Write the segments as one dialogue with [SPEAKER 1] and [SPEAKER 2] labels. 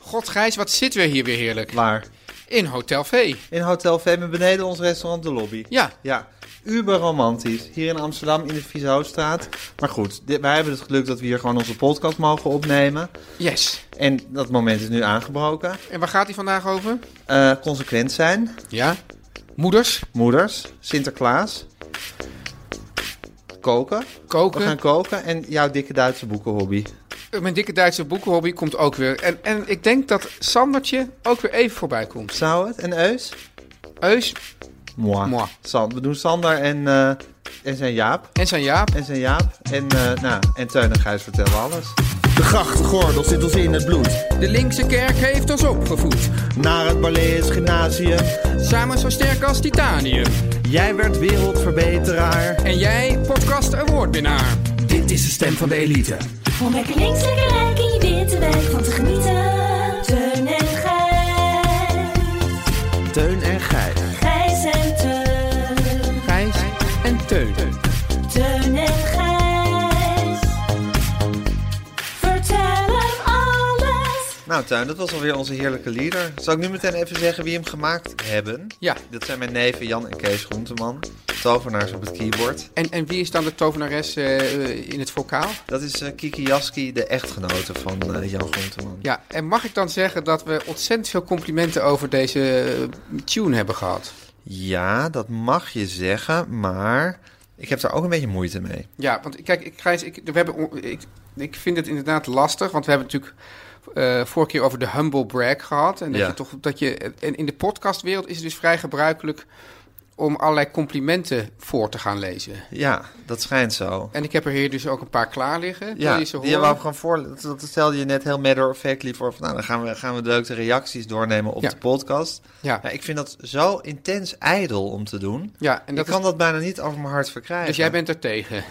[SPEAKER 1] God, Gijs, wat zitten we hier weer heerlijk.
[SPEAKER 2] Waar?
[SPEAKER 1] In Hotel V.
[SPEAKER 2] In Hotel Femme beneden ons restaurant De Lobby.
[SPEAKER 1] Ja.
[SPEAKER 2] Ja, uber romantisch. Hier in Amsterdam in de Vieshoutstraat. Maar goed, dit- wij hebben het geluk dat we hier gewoon onze podcast mogen opnemen.
[SPEAKER 1] Yes.
[SPEAKER 2] En dat moment is nu aangebroken.
[SPEAKER 1] En waar gaat hij vandaag over?
[SPEAKER 2] Eh, consequent zijn.
[SPEAKER 1] Ja. Moeders.
[SPEAKER 2] Moeders. Sinterklaas. Koken. We
[SPEAKER 1] Koken.
[SPEAKER 2] gaan koken. En jouw dikke Duitse boekenhobby.
[SPEAKER 1] Mijn dikke Duitse boekenhobby komt ook weer. En, en ik denk dat Sandertje ook weer even voorbij komt.
[SPEAKER 2] Zou het? En Eus?
[SPEAKER 1] Eus
[SPEAKER 2] Moi.
[SPEAKER 1] Moi.
[SPEAKER 2] San- we doen Sander en, eh, en zijn Jaap.
[SPEAKER 1] en zijn Jaap.
[SPEAKER 2] En zijn Jaap. En, eh, nou, en Teun en Gijs vertellen alles.
[SPEAKER 3] De grachtgordel zit ons in het bloed.
[SPEAKER 4] De linkse kerk heeft ons opgevoed.
[SPEAKER 3] Naar het Balees Gymnasium.
[SPEAKER 4] Samen zo sterk als titanium.
[SPEAKER 3] Jij werd wereldverbeteraar.
[SPEAKER 4] En jij, podcast awardwinnaar. Dit is de stem van de elite.
[SPEAKER 5] Om lekker links, lekker rijk in je witte wijk van te genieten. Teun en Gijs.
[SPEAKER 3] Teun en Gijs.
[SPEAKER 5] Gijs en Teun.
[SPEAKER 4] Gijs en Teun.
[SPEAKER 5] Teun en Gijs. Vertel hem alles.
[SPEAKER 2] Nou Tuin, dat was alweer onze heerlijke leader. Zal ik nu meteen even zeggen wie hem gemaakt hebben?
[SPEAKER 1] Ja.
[SPEAKER 2] Dat zijn mijn neven Jan en Kees Groenteman. Tovenaars op het keyboard.
[SPEAKER 1] En, en wie is dan de tovenares eh, in het vocaal?
[SPEAKER 2] Dat is eh, Kiki Jaski, de echtgenote van eh, Jan Groenteman.
[SPEAKER 1] Ja, en mag ik dan zeggen dat we ontzettend veel complimenten over deze eh, tune hebben gehad?
[SPEAKER 2] Ja, dat mag je zeggen, maar ik heb daar ook een beetje moeite mee.
[SPEAKER 1] Ja, want kijk, ik, Gijs, ik, we hebben, on- ik, ik vind het inderdaad lastig, want we hebben natuurlijk eh, vorige keer over de humble brag gehad. En dat
[SPEAKER 2] Ja.
[SPEAKER 1] je toch, dat je, en in de podcastwereld is het dus vrij gebruikelijk om allerlei complimenten voor te gaan lezen.
[SPEAKER 2] Ja, dat schijnt zo.
[SPEAKER 1] En ik heb er hier dus ook een paar klaar liggen. Wil
[SPEAKER 2] Ja,
[SPEAKER 1] je ze
[SPEAKER 2] die hebben we
[SPEAKER 1] horen?
[SPEAKER 2] gewoon voor. Dat, dat stelde je net heel matter of factly voor. Van, nou, dan gaan we, gaan we de leuke reacties doornemen op
[SPEAKER 1] Ja.
[SPEAKER 2] de podcast.
[SPEAKER 1] Ja.
[SPEAKER 2] Maar ik vind dat zo intens ijdel om te doen.
[SPEAKER 1] Ja, en
[SPEAKER 2] En
[SPEAKER 1] dat
[SPEAKER 2] dat
[SPEAKER 1] is-
[SPEAKER 2] kan dat bijna niet over mijn hart verkrijgen.
[SPEAKER 1] Dus jij bent er tegen.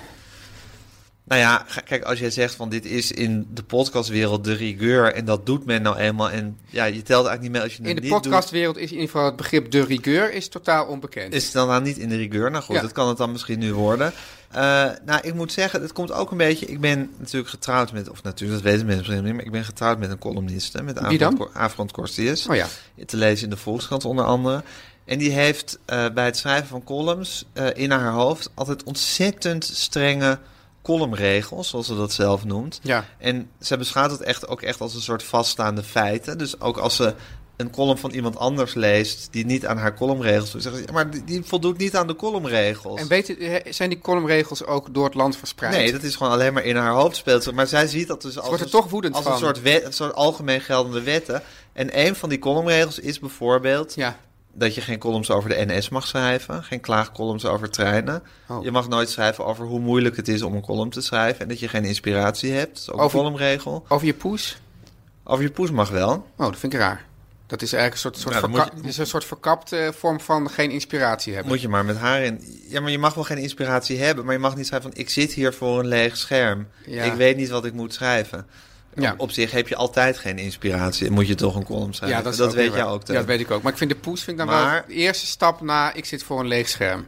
[SPEAKER 2] Nou ja, ga- kijk, als jij zegt van dit is in de podcastwereld de rigueur en dat doet men nou eenmaal en ja, je telt eigenlijk niet mee als je het
[SPEAKER 1] In de
[SPEAKER 2] niet
[SPEAKER 1] podcastwereld is in ieder geval het begrip de rigueur is totaal onbekend.
[SPEAKER 2] doet. Is het dan, dan niet in de rigueur? Nou goed,
[SPEAKER 1] Ja.
[SPEAKER 2] dat kan het dan misschien nu worden. Eh, nou, ik moet zeggen, het komt ook een beetje. Ik ben natuurlijk getrouwd met, of natuurlijk, dat weten mensen misschien niet, maar ik ben getrouwd met een columniste, met
[SPEAKER 1] Wie dan?
[SPEAKER 2] Afrond- Afrond Corsius.
[SPEAKER 1] Oh ja.
[SPEAKER 2] Te lezen in de Volkskrant onder andere. En die heeft eh, bij het schrijven van columns eh, in haar hoofd altijd ontzettend strenge columnregels, zoals ze dat zelf noemt.
[SPEAKER 1] Ja.
[SPEAKER 2] En ze beschouwt het echt ook echt als een soort vaststaande feiten. Dus ook als ze een column van iemand anders leest die niet aan haar columnregels doet, zegt ze, "Ja, maar die, die voldoet niet aan de columnregels.
[SPEAKER 1] En weet, je, zijn die columnregels ook door het land verspreid?
[SPEAKER 2] Nee, dat is gewoon alleen maar in haar hoofd speelt. ze. Maar zij ziet dat dus als,
[SPEAKER 1] wordt er
[SPEAKER 2] een-
[SPEAKER 1] toch woedend
[SPEAKER 2] als
[SPEAKER 1] van.
[SPEAKER 2] een soort, wet, een soort algemeen geldende wetten. En een van die columnregels is bijvoorbeeld
[SPEAKER 1] Ja.
[SPEAKER 2] dat je geen columns over de NS mag schrijven, geen klaagcolumns over treinen.
[SPEAKER 1] Oh.
[SPEAKER 2] Je mag nooit schrijven over hoe moeilijk het is om een column te schrijven en dat je geen inspiratie hebt. Dat is ook
[SPEAKER 1] Over-
[SPEAKER 2] een columnregel.
[SPEAKER 1] Over je poes?
[SPEAKER 2] Over je poes mag wel.
[SPEAKER 1] Oh, dat vind ik raar. Dat is eigenlijk een soort, soort,
[SPEAKER 2] Ja, dan
[SPEAKER 1] verka-
[SPEAKER 2] moet je-
[SPEAKER 1] het is een soort verkapte vorm van geen inspiratie hebben.
[SPEAKER 2] Moet je maar met haar in. Ja, maar je mag wel geen inspiratie hebben, maar je mag niet schrijven van ik zit hier voor een leeg scherm.
[SPEAKER 1] Ja.
[SPEAKER 2] Ik weet niet wat ik moet schrijven.
[SPEAKER 1] Ja.
[SPEAKER 2] Op zich heb je altijd geen inspiratie en moet je toch een column schrijven.
[SPEAKER 1] ja, dat, is ook
[SPEAKER 2] weet
[SPEAKER 1] weer
[SPEAKER 2] jij
[SPEAKER 1] waar.
[SPEAKER 2] ook. Teun.
[SPEAKER 1] Ja, dat weet ik ook. Maar ik vind de poes vind ik dan
[SPEAKER 2] Maar-
[SPEAKER 1] wel de eerste stap na ik zit voor een leeg scherm.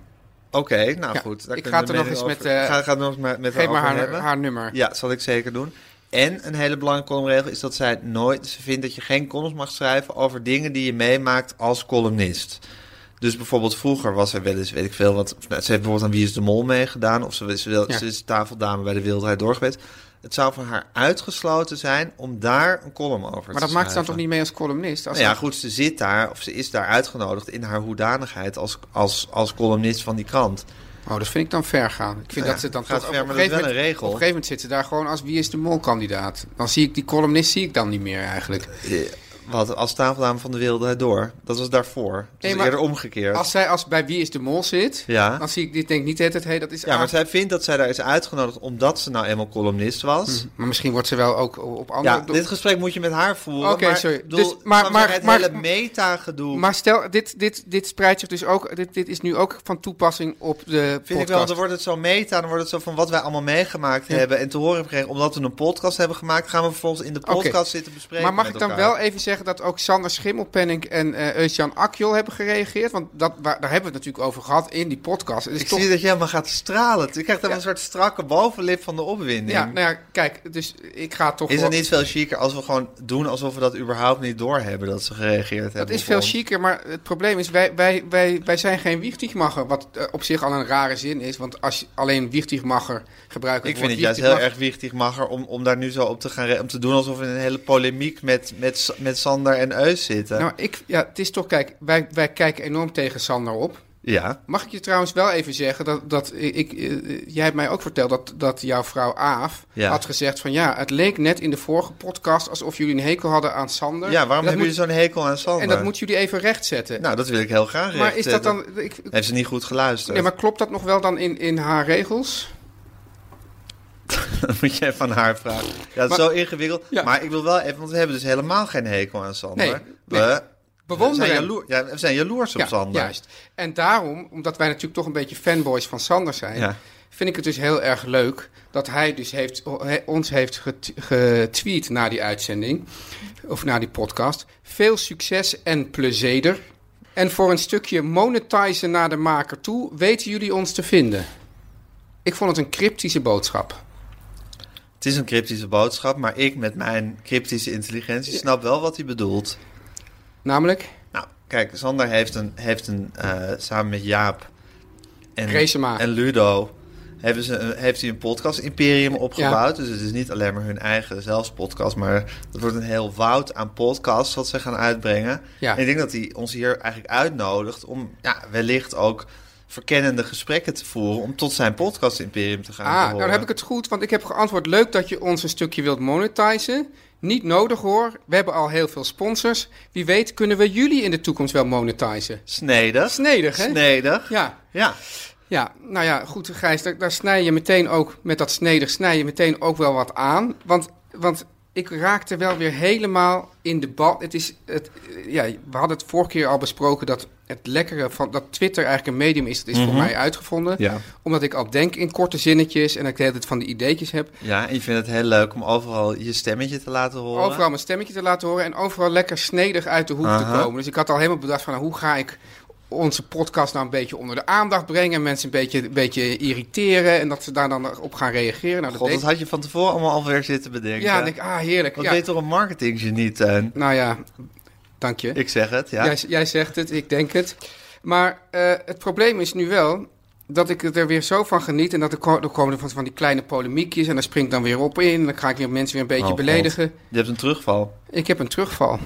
[SPEAKER 2] Oké, nou
[SPEAKER 1] Ja,
[SPEAKER 2] goed. daar
[SPEAKER 1] ik ga
[SPEAKER 2] kunnen
[SPEAKER 1] het
[SPEAKER 2] we
[SPEAKER 1] er nog
[SPEAKER 2] mening
[SPEAKER 1] eens
[SPEAKER 2] over-
[SPEAKER 1] met, eh,
[SPEAKER 2] ga, ga het nog eens maar met
[SPEAKER 1] Geef maar
[SPEAKER 2] over
[SPEAKER 1] haar,
[SPEAKER 2] hebben.
[SPEAKER 1] haar nummer.
[SPEAKER 2] Ja, zal ik zeker doen. En een hele belangrijke columnregel is dat zij nooit, ze vindt dat je geen columns mag schrijven over dingen die je meemaakt als columnist. Dus bijvoorbeeld vroeger was er wel eens, weet ik veel, wat, nou, ze heeft bijvoorbeeld aan Wie is de Mol meegedaan. Of ze, is wel,
[SPEAKER 1] Ja.
[SPEAKER 2] ze is tafeldame bij de Wildheid door geweest. Het zou van haar uitgesloten zijn om daar een column over te schrijven.
[SPEAKER 1] Maar dat maakt ze dan toch niet mee als columnist? Als
[SPEAKER 2] Nou ja,
[SPEAKER 1] ze-
[SPEAKER 2] goed, ze zit daar, of ze is daar uitgenodigd in haar hoedanigheid als, als, als columnist van die krant.
[SPEAKER 1] Oh, dat vind ik dan ver gaan. Ik vind
[SPEAKER 2] Nou Ja,
[SPEAKER 1] dat ze dan
[SPEAKER 2] gaat
[SPEAKER 1] toch-
[SPEAKER 2] ver, maar dat is wel
[SPEAKER 1] moment,
[SPEAKER 2] een regel.
[SPEAKER 1] Op een gegeven moment zit ze daar gewoon als wie is de mol kandidaat. Dan zie ik die columnist zie ik dan niet meer eigenlijk.
[SPEAKER 2] Eh, Wat, als tafeldame van de Wildheid door. Dat was daarvoor. Dat
[SPEAKER 1] Nee,
[SPEAKER 2] was
[SPEAKER 1] maar
[SPEAKER 2] eerder omgekeerd.
[SPEAKER 1] Als zij als bij wie is de mol zit,
[SPEAKER 2] Ja.
[SPEAKER 1] dan zie ik dit denk ik niet het het hey, dat is
[SPEAKER 2] Ja, maar
[SPEAKER 1] aard-
[SPEAKER 2] zij vindt dat zij daar is uitgenodigd omdat ze nou eenmaal columnist was.
[SPEAKER 1] maar misschien wordt ze wel ook op andere
[SPEAKER 2] Ja, dit gesprek moet je met haar voeren.
[SPEAKER 1] Oké,
[SPEAKER 2] maar,
[SPEAKER 1] sorry.
[SPEAKER 2] ik bedoel,
[SPEAKER 1] Dus-
[SPEAKER 2] snap
[SPEAKER 1] maar-
[SPEAKER 2] je,
[SPEAKER 1] maar-
[SPEAKER 2] het
[SPEAKER 1] maar-
[SPEAKER 2] hele meta-gedoe
[SPEAKER 1] Maar stel, dit, dit, dit spreidt zich dus ook. Dit, dit is nu ook van toepassing op de podcast.
[SPEAKER 2] vind ik wel. want Dan wordt het zo meta, dan wordt het zo van wat wij allemaal meegemaakt hebben en te horen hebben gekregen. Omdat we een podcast hebben gemaakt, gaan we vervolgens in de podcast
[SPEAKER 1] Oké.
[SPEAKER 2] zitten bespreken.
[SPEAKER 1] maar mag
[SPEAKER 2] met
[SPEAKER 1] ik dan
[SPEAKER 2] elkaar.
[SPEAKER 1] wel even zeggen dat ook Sander Schimmelpenning en eh Eusjan Akjol hebben gereageerd? Want dat, waar- daar hebben we het natuurlijk over gehad in die podcast. Het is
[SPEAKER 2] Ik
[SPEAKER 1] toch-
[SPEAKER 2] zie dat je helemaal gaat stralen. Je krijgt dan
[SPEAKER 1] Ja.
[SPEAKER 2] een soort strakke bovenlip van de opwinding.
[SPEAKER 1] ja, nou ja, kijk, dus ik ga toch.
[SPEAKER 2] Is
[SPEAKER 1] wel-
[SPEAKER 2] het niet veel chiquer als we gewoon doen alsof we dat überhaupt niet doorhebben dat ze gereageerd hebben?
[SPEAKER 1] Dat is
[SPEAKER 2] op
[SPEAKER 1] veel
[SPEAKER 2] ons?
[SPEAKER 1] chiquer, maar het probleem is, wij, wij, wij, wij zijn geen wichtigmacher. Wat eh, op zich al een rare zin is, want als je alleen wichtigmacher gebruikt...
[SPEAKER 2] Ik vind het juist heel erg wichtig, Macher, om, om daar nu zo op te gaan re- om te doen alsof we in een hele polemiek met, met, S- met Sander en Eus zitten.
[SPEAKER 1] Nou, ik, ja, het is toch, kijk, wij, wij kijken enorm tegen Sander op.
[SPEAKER 2] ja.
[SPEAKER 1] Mag ik je trouwens wel even zeggen dat, dat ik, eh, jij hebt mij ook verteld dat, dat jouw vrouw Aaf
[SPEAKER 2] Ja.
[SPEAKER 1] had gezegd van ja, het leek net in de vorige podcast alsof jullie een hekel hadden aan Sander.
[SPEAKER 2] ja, waarom
[SPEAKER 1] En dat
[SPEAKER 2] hebben
[SPEAKER 1] moet-
[SPEAKER 2] jullie zo'n hekel aan Sander?
[SPEAKER 1] En dat moeten jullie even rechtzetten.
[SPEAKER 2] Nou, dat wil ik heel graag
[SPEAKER 1] maar is dat
[SPEAKER 2] rechtzetten.
[SPEAKER 1] dan? Ik,
[SPEAKER 2] Heeft ze niet goed geluisterd?
[SPEAKER 1] nee, maar klopt dat nog wel dan in, in haar regels?
[SPEAKER 2] Dat moet je even van haar vragen. Ja, het
[SPEAKER 1] Maar-
[SPEAKER 2] is zo ingewikkeld.
[SPEAKER 1] Ja.
[SPEAKER 2] Maar ik wil wel even, want we hebben dus helemaal geen hekel aan Sander.
[SPEAKER 1] Nee,
[SPEAKER 2] we,
[SPEAKER 1] nee.
[SPEAKER 2] we,
[SPEAKER 1] Bewonderen.
[SPEAKER 2] zijn jaloer, ja, we zijn jaloers op
[SPEAKER 1] ja,
[SPEAKER 2] Sander.
[SPEAKER 1] juist. En daarom, omdat wij natuurlijk toch een beetje fanboys van Sander zijn,
[SPEAKER 2] Ja.
[SPEAKER 1] vind ik het dus heel erg leuk dat hij dus heeft, o- he- ons heeft get- getweet na die uitzending, of na die podcast. Veel succes en plezier. En voor een stukje monetizen naar de maker toe, weten jullie ons te vinden. Ik vond het een cryptische boodschap.
[SPEAKER 2] Het is een cryptische boodschap, maar ik met mijn cryptische intelligentie snap wel wat hij bedoelt.
[SPEAKER 1] Namelijk,
[SPEAKER 2] Nou, kijk, Sander heeft een, heeft een eh, samen met Jaap en,
[SPEAKER 1] Reesema.
[SPEAKER 2] en Ludo hebben ze, een- heeft hij een podcast imperium opgebouwd. Dus het is niet alleen maar hun eigen zelfspodcast, maar het wordt een heel woud aan podcasts wat ze gaan uitbrengen.
[SPEAKER 1] Ja.
[SPEAKER 2] En ik denk dat hij ons hier eigenlijk uitnodigt om ja, wellicht ook verkennende gesprekken te voeren om tot zijn podcast imperium te gaan
[SPEAKER 1] ah, nou
[SPEAKER 2] behoren.
[SPEAKER 1] dan heb ik het goed, want ik heb geantwoord, leuk dat je ons een stukje wilt monetizen. Niet nodig hoor, we hebben al heel veel sponsors. Wie weet kunnen we jullie in de toekomst wel monetizen.
[SPEAKER 2] Snedig.
[SPEAKER 1] Snedig, hè?
[SPEAKER 2] Snedig.
[SPEAKER 1] Ja,
[SPEAKER 2] Ja.
[SPEAKER 1] Ja, nou ja, goed Gijs, daar, daar snij je meteen ook, met dat snedig snij je meteen ook wel wat aan. Want, want ik raakte wel weer helemaal in de bal. Het is, het, ja, we hadden het vorige keer al besproken dat het lekkere van, dat Twitter eigenlijk een medium is, dat is voor mij uitgevonden.
[SPEAKER 2] Ja.
[SPEAKER 1] Omdat ik al denk in korte zinnetjes en dat ik de hele tijd van die ideetjes heb.
[SPEAKER 2] Ja, en je vindt het heel leuk om overal je stemmetje te laten horen.
[SPEAKER 1] Overal mijn stemmetje te laten horen en overal lekker snedig uit de hoek
[SPEAKER 2] Aha.
[SPEAKER 1] te komen. Dus ik had al helemaal bedacht van nou, hoe ga ik onze podcast nou een beetje onder de aandacht brengen. Mensen een beetje, een beetje irriteren en dat ze daar dan op gaan reageren. Nou, dat
[SPEAKER 2] God,
[SPEAKER 1] deed-
[SPEAKER 2] dat had je van tevoren allemaal alweer zitten bedenken.
[SPEAKER 1] ja, dan denk ik, ah heerlijk.
[SPEAKER 2] Wat
[SPEAKER 1] Ja.
[SPEAKER 2] ben je toch een marketinggenie, Teun?
[SPEAKER 1] Nou ja, dank je.
[SPEAKER 2] Ik zeg het, ja.
[SPEAKER 1] Jij, jij zegt het, ik denk het. Maar eh, het probleem is nu wel dat ik er weer zo van geniet. En dat er, ko- er komen van, van die kleine polemiekjes. En daar spring ik dan weer op in. En dan ga ik weer mensen weer een beetje
[SPEAKER 2] Oh, God.
[SPEAKER 1] beledigen.
[SPEAKER 2] Je hebt een terugval.
[SPEAKER 1] Ik heb een terugval.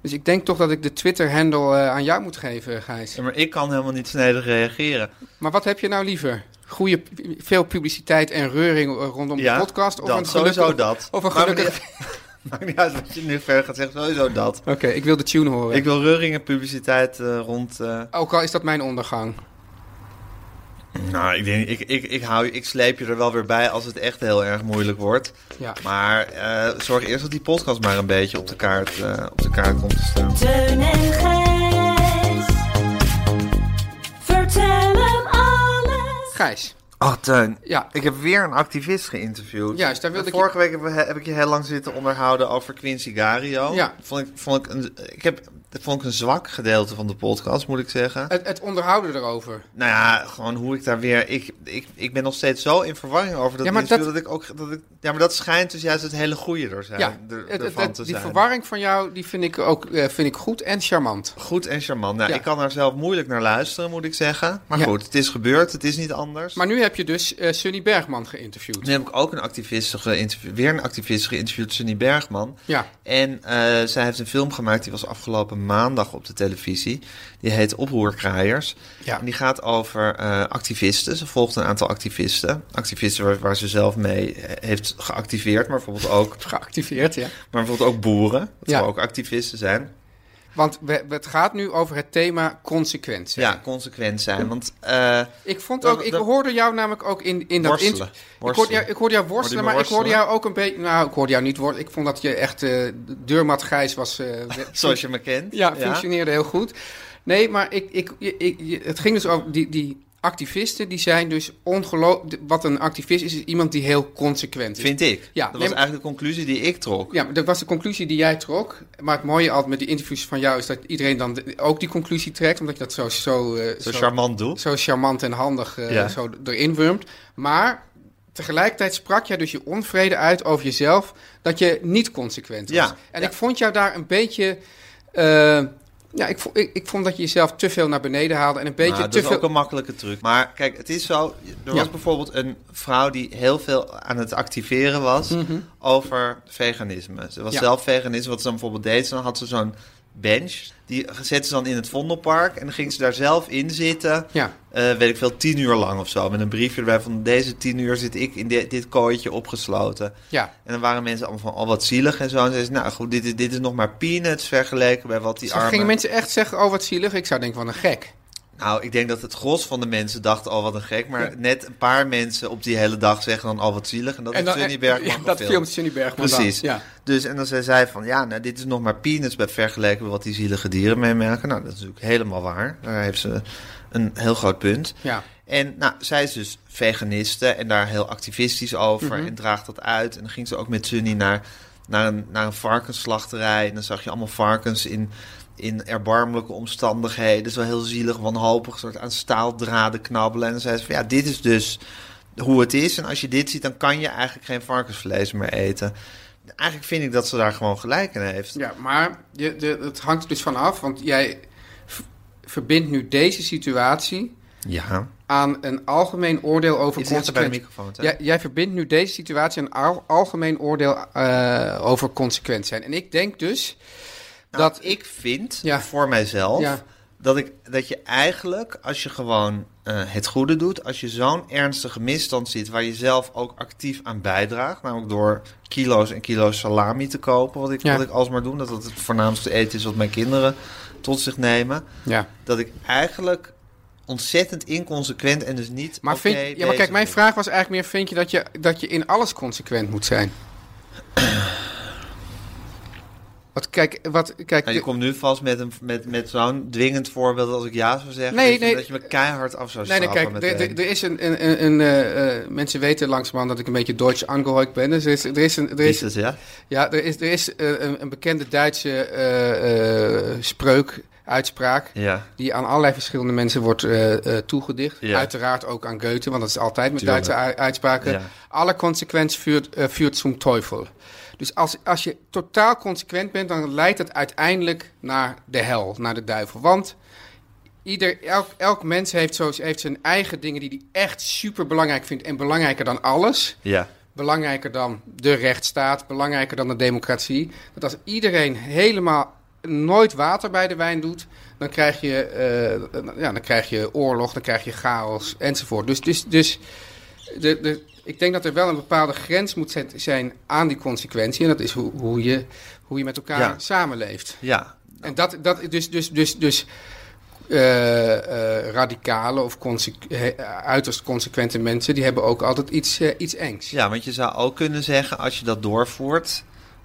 [SPEAKER 1] Dus ik denk toch dat ik de Twitter-handle eh, aan jou moet geven, Gijs.
[SPEAKER 2] Ja, maar ik kan helemaal niet snedig reageren.
[SPEAKER 1] Maar wat heb je nou liever? Goede, veel publiciteit en reuring eh, rondom
[SPEAKER 2] Ja,
[SPEAKER 1] de podcast? Of
[SPEAKER 2] dat,
[SPEAKER 1] een gelukkig...
[SPEAKER 2] sowieso dat.
[SPEAKER 1] Of een
[SPEAKER 2] Maar
[SPEAKER 1] gelukkig...
[SPEAKER 2] Maakt niet uit wat je nu verder gaat zeggen, sowieso dat.
[SPEAKER 1] Oké, ik wil de tune horen.
[SPEAKER 2] Ik wil reuringen publiciteit eh, rond... eh,
[SPEAKER 1] Ook al is dat mijn ondergang.
[SPEAKER 2] nou, ik, denk, ik, ik, ik, hou, ik sleep je er wel weer bij als het echt heel erg moeilijk wordt.
[SPEAKER 1] Ja.
[SPEAKER 2] Maar eh, zorg eerst dat die podcast maar een beetje op de kaart, eh, op de kaart komt te staan.
[SPEAKER 5] Teun en Gijs. Vertel hem alles.
[SPEAKER 1] Gijs.
[SPEAKER 2] Ach, Ah, Teun.
[SPEAKER 1] Ja.
[SPEAKER 2] Ik heb weer een activist geïnterviewd.
[SPEAKER 1] Juist, daar wilde
[SPEAKER 2] En
[SPEAKER 1] ik je-
[SPEAKER 2] Vorige week heb, we- heb ik je heel lang zitten onderhouden over Quincy Gario.
[SPEAKER 1] Ja.
[SPEAKER 2] Vond ik, vond ik, een, ik heb Dat vond ik een zwak gedeelte van de podcast, moet ik zeggen.
[SPEAKER 1] Het, het onderhouden erover.
[SPEAKER 2] Nou ja, gewoon hoe ik daar weer. Ik, ik, ik ben nog steeds zo in verwarring over dat
[SPEAKER 1] Ja, maar
[SPEAKER 2] interview
[SPEAKER 1] dat-
[SPEAKER 2] dat ik ook. Dat ik, ja, maar dat schijnt dus juist het hele goede er zijn,
[SPEAKER 1] Ja,
[SPEAKER 2] er-
[SPEAKER 1] het- het-
[SPEAKER 2] ervan
[SPEAKER 1] het-
[SPEAKER 2] te
[SPEAKER 1] die
[SPEAKER 2] zijn.
[SPEAKER 1] verwarring van jou die vind ik ook eh, vind ik goed en charmant.
[SPEAKER 2] Goed en charmant. Nou,
[SPEAKER 1] Ja.
[SPEAKER 2] Ik kan daar zelf moeilijk naar luisteren, moet ik zeggen. Maar
[SPEAKER 1] Ja.
[SPEAKER 2] goed, het is gebeurd, het is niet anders.
[SPEAKER 1] Maar nu heb je dus eh, Sunny Bergman geïnterviewd.
[SPEAKER 2] nu heb ik ook een activiste geïnterviewd, weer een activist geïnterviewd, Sunny Bergman.
[SPEAKER 1] Ja.
[SPEAKER 2] En eh, zij heeft een film gemaakt, die was afgelopen maandag op de televisie. Die heet Oproerkraaiers.
[SPEAKER 1] Ja.
[SPEAKER 2] En die gaat over eh, activisten. Ze volgt een aantal activisten. Activisten waar, waar ze zelf mee eh, heeft geactiveerd, maar bijvoorbeeld ook,
[SPEAKER 1] Geactiveerd, ja.
[SPEAKER 2] maar bijvoorbeeld ook boeren. Dat
[SPEAKER 1] Ja.
[SPEAKER 2] zou ook activisten zijn.
[SPEAKER 1] Want we, we- het gaat nu over het thema consequenties.
[SPEAKER 2] Ja, consequent zijn. Want eh,
[SPEAKER 1] Ik vond
[SPEAKER 2] Dat-
[SPEAKER 1] ook, ik
[SPEAKER 2] dat-
[SPEAKER 1] hoorde jou namelijk ook in, in dat
[SPEAKER 2] Worstelen.
[SPEAKER 1] interview- Ik hoorde,
[SPEAKER 2] Worstelen.
[SPEAKER 1] jou, ik hoorde jou worstelen,
[SPEAKER 2] Hoorde
[SPEAKER 1] maar
[SPEAKER 2] je me
[SPEAKER 1] ik hoorde
[SPEAKER 2] worstelen?
[SPEAKER 1] jou ook een beetje. Nou, ik hoorde jou niet worstelen. Ik vond dat je echt eh deurmat grijs was. eh,
[SPEAKER 2] zoals je me kent.
[SPEAKER 1] Ja, functioneerde heel goed. Nee, maar ik, ik, ik, je- het ging dus over die, die activisten, die zijn dus ongelooflijk. Wat een activist is, is iemand die heel consequent is.
[SPEAKER 2] Vind ik.
[SPEAKER 1] Ja,
[SPEAKER 2] dat was
[SPEAKER 1] nee, maar-
[SPEAKER 2] eigenlijk de conclusie die ik trok.
[SPEAKER 1] Ja, maar dat was de conclusie die jij trok. Maar het mooie altijd met die interviews van jou is dat iedereen dan de- ook die conclusie trekt, omdat je dat zo, zo, eh,
[SPEAKER 2] Zo charmant doe.
[SPEAKER 1] zo charmant en handig eh,
[SPEAKER 2] Ja.
[SPEAKER 1] zo erin wurmt. Maar tegelijkertijd sprak jij dus je onvrede uit over jezelf dat je niet consequent was.
[SPEAKER 2] Ja,
[SPEAKER 1] en
[SPEAKER 2] ja.
[SPEAKER 1] ik vond jou daar een beetje. eh, ja, ik, vo- ik, ik vond dat je jezelf te veel naar beneden haalde en een beetje
[SPEAKER 2] Nou, dat
[SPEAKER 1] te
[SPEAKER 2] is
[SPEAKER 1] veel.
[SPEAKER 2] ook een makkelijke truc. Maar kijk, het is zo. Er
[SPEAKER 1] Ja.
[SPEAKER 2] was bijvoorbeeld een vrouw die heel veel aan het activeren was over veganisme. Ze was
[SPEAKER 1] Mhm. Ja.
[SPEAKER 2] zelf veganisme. Wat ze dan bijvoorbeeld deed, ze dan had ze zo'n bench. Die zette ze dan in het Vondelpark. En dan ging ze daar zelf in zitten.
[SPEAKER 1] Ja.
[SPEAKER 2] eh, weet ik veel, tien uur lang of zo. Met een briefje erbij van deze tien uur zit ik in dit- dit kooitje opgesloten.
[SPEAKER 1] Ja.
[SPEAKER 2] En dan waren mensen allemaal van, oh wat zielig en zo. En ze zei, nou goed, dit, is- dit is nog maar peanuts vergeleken bij wat die
[SPEAKER 1] Dus dan
[SPEAKER 2] armen...
[SPEAKER 1] gingen mensen echt zeggen, oh wat zielig. Ik zou denken van een gek.
[SPEAKER 2] Nou, ik denk dat het gros van de mensen dacht, oh wat een gek. Maar net een paar mensen op die hele dag zeggen dan, oh wat zielig. En dat
[SPEAKER 1] en
[SPEAKER 2] is
[SPEAKER 1] dan,
[SPEAKER 2] Sunny
[SPEAKER 1] ja,
[SPEAKER 2] Bergman
[SPEAKER 1] dat
[SPEAKER 2] gefilmd.
[SPEAKER 1] filmt Sunny Bergman dan.
[SPEAKER 2] Precies.
[SPEAKER 1] Ja.
[SPEAKER 2] Dus, en dan zei zij van, ja, nou, dit is nog maar peanuts bij vergeleken met wat die zielige dieren meemaken. Nou, dat is natuurlijk helemaal waar. Daar heeft ze een heel groot punt.
[SPEAKER 1] Ja.
[SPEAKER 2] En nou, zij is dus veganiste en daar heel activistisch over en draagt dat uit. En dan ging ze ook met Sunny naar, naar, een, naar een varkensslachterij. En dan zag je allemaal varkens in, in erbarmelijke omstandigheden. Zo heel zielig, wanhopig, soort aan staaldraden knabbelen. En dan zei ze van, ja, dit is dus hoe het is. En als je dit ziet, dan kan je eigenlijk geen varkensvlees meer eten. Eigenlijk vind ik dat ze daar gewoon gelijk in heeft.
[SPEAKER 1] Ja, maar je, de, het hangt er dus van af, want jij v- verbindt nu deze situatie
[SPEAKER 2] Ja.
[SPEAKER 1] aan een algemeen oordeel over
[SPEAKER 2] Iets dichter bij de
[SPEAKER 1] consequenties.
[SPEAKER 2] microfoon. hè?
[SPEAKER 1] Jij, jij verbindt nu deze situatie aan al, algemeen oordeel eh, over consequent zijn. En ik denk dus
[SPEAKER 2] Nou,
[SPEAKER 1] dat...
[SPEAKER 2] ik vind
[SPEAKER 1] Ja.
[SPEAKER 2] voor mijzelf
[SPEAKER 1] Ja.
[SPEAKER 2] dat, ik, dat je eigenlijk, als je gewoon eh, het goede doet, als je zo'n ernstige misstand ziet waar je zelf ook actief aan bijdraagt, namelijk door kilo's en kilo's salami te kopen, wat ik,
[SPEAKER 1] Ja.
[SPEAKER 2] wat ik alsmaar doe, dat dat het voornaamste eten is wat mijn kinderen tot zich nemen,
[SPEAKER 1] ja.
[SPEAKER 2] dat ik eigenlijk ontzettend inconsequent en dus niet.
[SPEAKER 1] Maar,
[SPEAKER 2] oké
[SPEAKER 1] vind, ja, maar
[SPEAKER 2] bezig
[SPEAKER 1] kijk, mijn
[SPEAKER 2] ben.
[SPEAKER 1] vraag was eigenlijk meer, vind je dat je, dat je in alles consequent moet zijn? Wat, kijk, wat, kijk,
[SPEAKER 2] Nou, je komt nu vast met, een- met, met zo'n dwingend voorbeeld als ik ja zou zeggen.
[SPEAKER 1] Nee,
[SPEAKER 2] dat, je,
[SPEAKER 1] nee.
[SPEAKER 2] dat je me keihard af zou
[SPEAKER 1] Nee, nee,
[SPEAKER 2] straffen.
[SPEAKER 1] kijk, er-
[SPEAKER 2] meteen.
[SPEAKER 1] er er is een... een, een, een, eh, eh, mensen weten langzamerhand dat ik een beetje Duits angehooid ben. Dus er is, er is, een, er is,
[SPEAKER 2] Is het, ja?
[SPEAKER 1] ja, er is, er is eh, een, een bekende Duitse eh, eh, spreuk, uitspraak...
[SPEAKER 2] Ja.
[SPEAKER 1] die aan allerlei verschillende mensen wordt eh, eh, toegedicht.
[SPEAKER 2] Ja.
[SPEAKER 1] Uiteraard ook aan Goethe, want dat is altijd met
[SPEAKER 2] Tuurlijk.
[SPEAKER 1] Duitse u- uitspraken.
[SPEAKER 2] Ja.
[SPEAKER 1] Alle consequentie vuurt, eh, vuurt zum Teufel. Dus als, als je totaal consequent bent, dan leidt het uiteindelijk naar de hel, naar de duivel. Want ieder, elk, elk mens heeft, zo, heeft zijn eigen dingen die hij echt super belangrijk vindt. En belangrijker dan alles.
[SPEAKER 2] Ja.
[SPEAKER 1] Belangrijker dan de rechtsstaat, belangrijker dan de democratie. Dat als iedereen helemaal nooit water bij de wijn doet, dan krijg je, eh, ja, dan krijg je oorlog, dan krijg je chaos enzovoort. Dus, dus, dus de, de, ik denk dat er wel een bepaalde grens moet zet- zijn aan die consequentie. En dat is hoe, hoe, je, hoe je met elkaar
[SPEAKER 2] Ja.
[SPEAKER 1] samenleeft.
[SPEAKER 2] Ja.
[SPEAKER 1] En dat, dat dus, dus, dus, dus eh, eh, radicale of consequ- eh, uiterst consequente mensen, die hebben ook altijd iets, eh, iets engs.
[SPEAKER 2] ja, want je zou ook kunnen zeggen, als je dat doorvoert,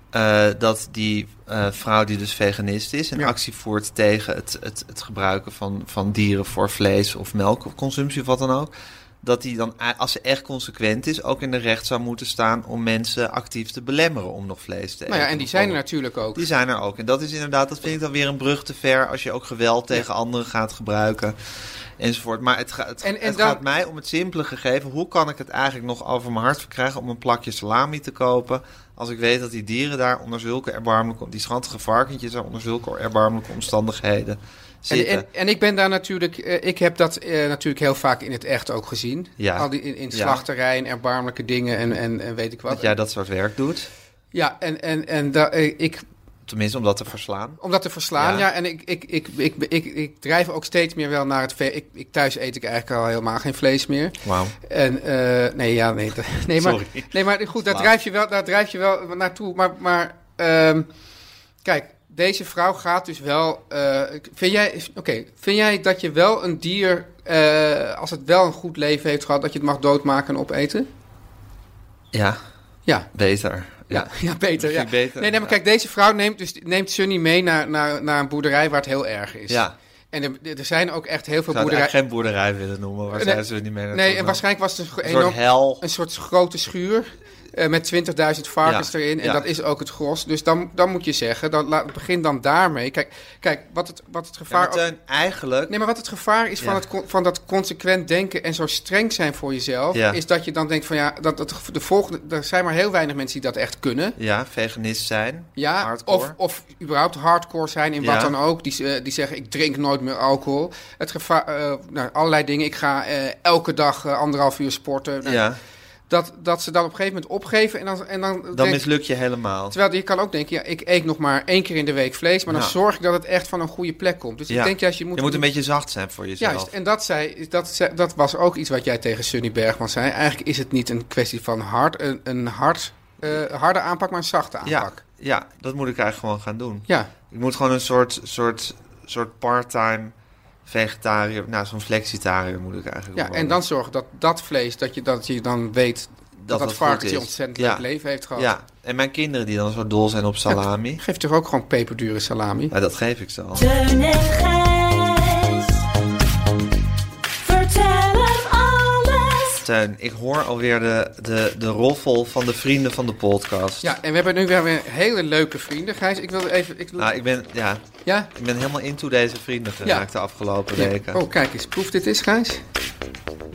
[SPEAKER 2] eh, dat die eh, vrouw die dus veganist is en
[SPEAKER 1] Ja.
[SPEAKER 2] actie voert tegen het, het, het gebruiken van, van dieren voor vlees of melkconsumptie of wat dan ook, dat die dan, a- als ze echt consequent is, ook in de recht zou moeten staan om mensen actief te belemmeren om nog vlees te eten.
[SPEAKER 1] Nou ja, en die zijn er natuurlijk ook.
[SPEAKER 2] Die zijn er ook. En dat is inderdaad, dat vind ik dan weer een brug te ver als je ook geweld tegen anderen gaat gebruiken. Enzovoort. Maar het, ga- het,
[SPEAKER 1] En- en
[SPEAKER 2] het
[SPEAKER 1] dan-
[SPEAKER 2] gaat mij om het simpele gegeven. Hoe kan ik het eigenlijk nog over mijn hart verkrijgen om een plakje salami te kopen. Als ik weet dat die dieren daar onder zulke erbarmelijke, die schattige varkentjes daar onder zulke erbarmelijke omstandigheden
[SPEAKER 1] En,
[SPEAKER 2] zitten.
[SPEAKER 1] en, en ik ben daar natuurlijk, eh, ik heb dat eh, natuurlijk heel vaak in het echt ook gezien.
[SPEAKER 2] Ja.
[SPEAKER 1] Al die in, in
[SPEAKER 2] Ja.
[SPEAKER 1] slachterijen, erbarmelijke dingen en, en, en weet ik wat.
[SPEAKER 2] dat jij dat soort werk doet.
[SPEAKER 1] Ja, en, en, en da- eh, ik,
[SPEAKER 2] Tenminste, om dat te verslaan.
[SPEAKER 1] om dat te verslaan,
[SPEAKER 2] Ja.
[SPEAKER 1] ja, en ik, ik, ik, ik, ik, ik, drijf ook steeds meer wel naar het vee. Ik, ik, thuis eet ik eigenlijk al helemaal geen vlees meer.
[SPEAKER 2] Wauw.
[SPEAKER 1] En, eh, nee, ja, nee, dat- nee, maar,
[SPEAKER 2] Sorry.
[SPEAKER 1] nee, maar goed, daar
[SPEAKER 2] Slaap.
[SPEAKER 1] drijf je wel, daar drijf je wel naartoe. Maar, maar ehm, kijk, deze vrouw gaat dus wel. eh, vind, jij, oké, vind jij dat je wel een dier, eh, als het wel een goed leven heeft gehad, dat je het mag doodmaken en opeten?
[SPEAKER 2] Ja,
[SPEAKER 1] Ja.
[SPEAKER 2] beter. Ja.
[SPEAKER 1] Ja, ja, beter, ja.
[SPEAKER 2] Misschien beter,
[SPEAKER 1] nee, nee, maar
[SPEAKER 2] ja.
[SPEAKER 1] kijk, deze vrouw neemt, dus, neemt Sunny mee naar, naar, naar een boerderij waar het heel erg is.
[SPEAKER 2] Ja.
[SPEAKER 1] En er, er zijn ook echt heel
[SPEAKER 2] Ik
[SPEAKER 1] veel
[SPEAKER 2] zou het eigenlijk
[SPEAKER 1] boerderijen.
[SPEAKER 2] geen boerderij willen noemen. Waar
[SPEAKER 1] Nee.
[SPEAKER 2] zijn ze niet meer naartoe
[SPEAKER 1] Nee, en
[SPEAKER 2] gaan?
[SPEAKER 1] waarschijnlijk was het een
[SPEAKER 2] Een soort
[SPEAKER 1] enorm
[SPEAKER 2] hel.
[SPEAKER 1] een soort grote schuur eh, met 20.000 varkens
[SPEAKER 2] Ja,
[SPEAKER 1] erin. En
[SPEAKER 2] ja.
[SPEAKER 1] dat is ook het gros. Dus dan, dan moet je zeggen, dan, laat, begin dan daarmee. Kijk, kijk wat, het, wat het
[SPEAKER 2] Ja,
[SPEAKER 1] gevaar...
[SPEAKER 2] maar Teun, eigenlijk...
[SPEAKER 1] Nee, maar wat het gevaar is van,
[SPEAKER 2] Ja.
[SPEAKER 1] het, con- van dat consequent denken en zo streng zijn voor jezelf...
[SPEAKER 2] Ja.
[SPEAKER 1] is dat je dan denkt van ja, dat, dat de volgende, er zijn maar heel weinig mensen die dat echt kunnen.
[SPEAKER 2] Ja, veganist zijn.
[SPEAKER 1] Ja,
[SPEAKER 2] hardcore.
[SPEAKER 1] of, of überhaupt hardcore zijn in
[SPEAKER 2] Ja.
[SPEAKER 1] wat dan ook. Die, eh, die zeggen, ik drink nooit meer alcohol. Het gevaar, eh, nou, allerlei dingen. Ik ga eh, elke dag eh, anderhalf uur sporten. Nou,
[SPEAKER 2] ja,
[SPEAKER 1] dat, dat ze dan op een gegeven moment opgeven en dan... En dan
[SPEAKER 2] dan
[SPEAKER 1] denk-
[SPEAKER 2] mislukt je helemaal.
[SPEAKER 1] Terwijl je kan ook denken, ja, ik eet nog maar één keer in de week vlees... maar dan
[SPEAKER 2] Ja.
[SPEAKER 1] zorg ik dat het echt van een goede plek komt. Dus
[SPEAKER 2] Nou. Ja.
[SPEAKER 1] ik denk juist, je moet...
[SPEAKER 2] Je moet een beetje zacht zijn voor jezelf.
[SPEAKER 1] Juist, en dat, zei, dat, zei- dat was ook iets wat jij tegen Sunny Bergman zei. Eigenlijk is het niet een kwestie van hard, een, een hard, eh, harde aanpak, maar een zachte
[SPEAKER 2] ja,
[SPEAKER 1] aanpak.
[SPEAKER 2] ja, dat moet ik eigenlijk gewoon gaan doen.
[SPEAKER 1] Ja,
[SPEAKER 2] Ik moet gewoon een soort, soort, soort part-time vegetariër... Nou, zo'n flexitariër moet ik eigenlijk
[SPEAKER 1] ja.
[SPEAKER 2] worden.
[SPEAKER 1] en dan zorgen dat dat vlees, dat je, dat je dan weet dat dat,
[SPEAKER 2] het goed
[SPEAKER 1] varkentje
[SPEAKER 2] is.
[SPEAKER 1] ontzettend
[SPEAKER 2] ja.
[SPEAKER 1] leuk leven heeft gehad.
[SPEAKER 2] Ja, en mijn kinderen die dan zo dol zijn op salami...
[SPEAKER 1] Geef toch ook gewoon peperdure salami?
[SPEAKER 2] Ja, dat geef ik ze al.
[SPEAKER 5] Teun en Gijs. Vertel hem alles.
[SPEAKER 2] Teun, ik hoor alweer de, de, de roffel van de vrienden van de podcast.
[SPEAKER 1] Ja, en we hebben nu weer weer hele leuke vrienden. Gijs, ik wil even... Ik,
[SPEAKER 2] Nou, ik ben, ja,
[SPEAKER 1] ja?
[SPEAKER 2] ik ben helemaal into deze vrienden geraakt de afgelopen weken.
[SPEAKER 1] Oh, kijk eens. Proef dit eens, Gijs.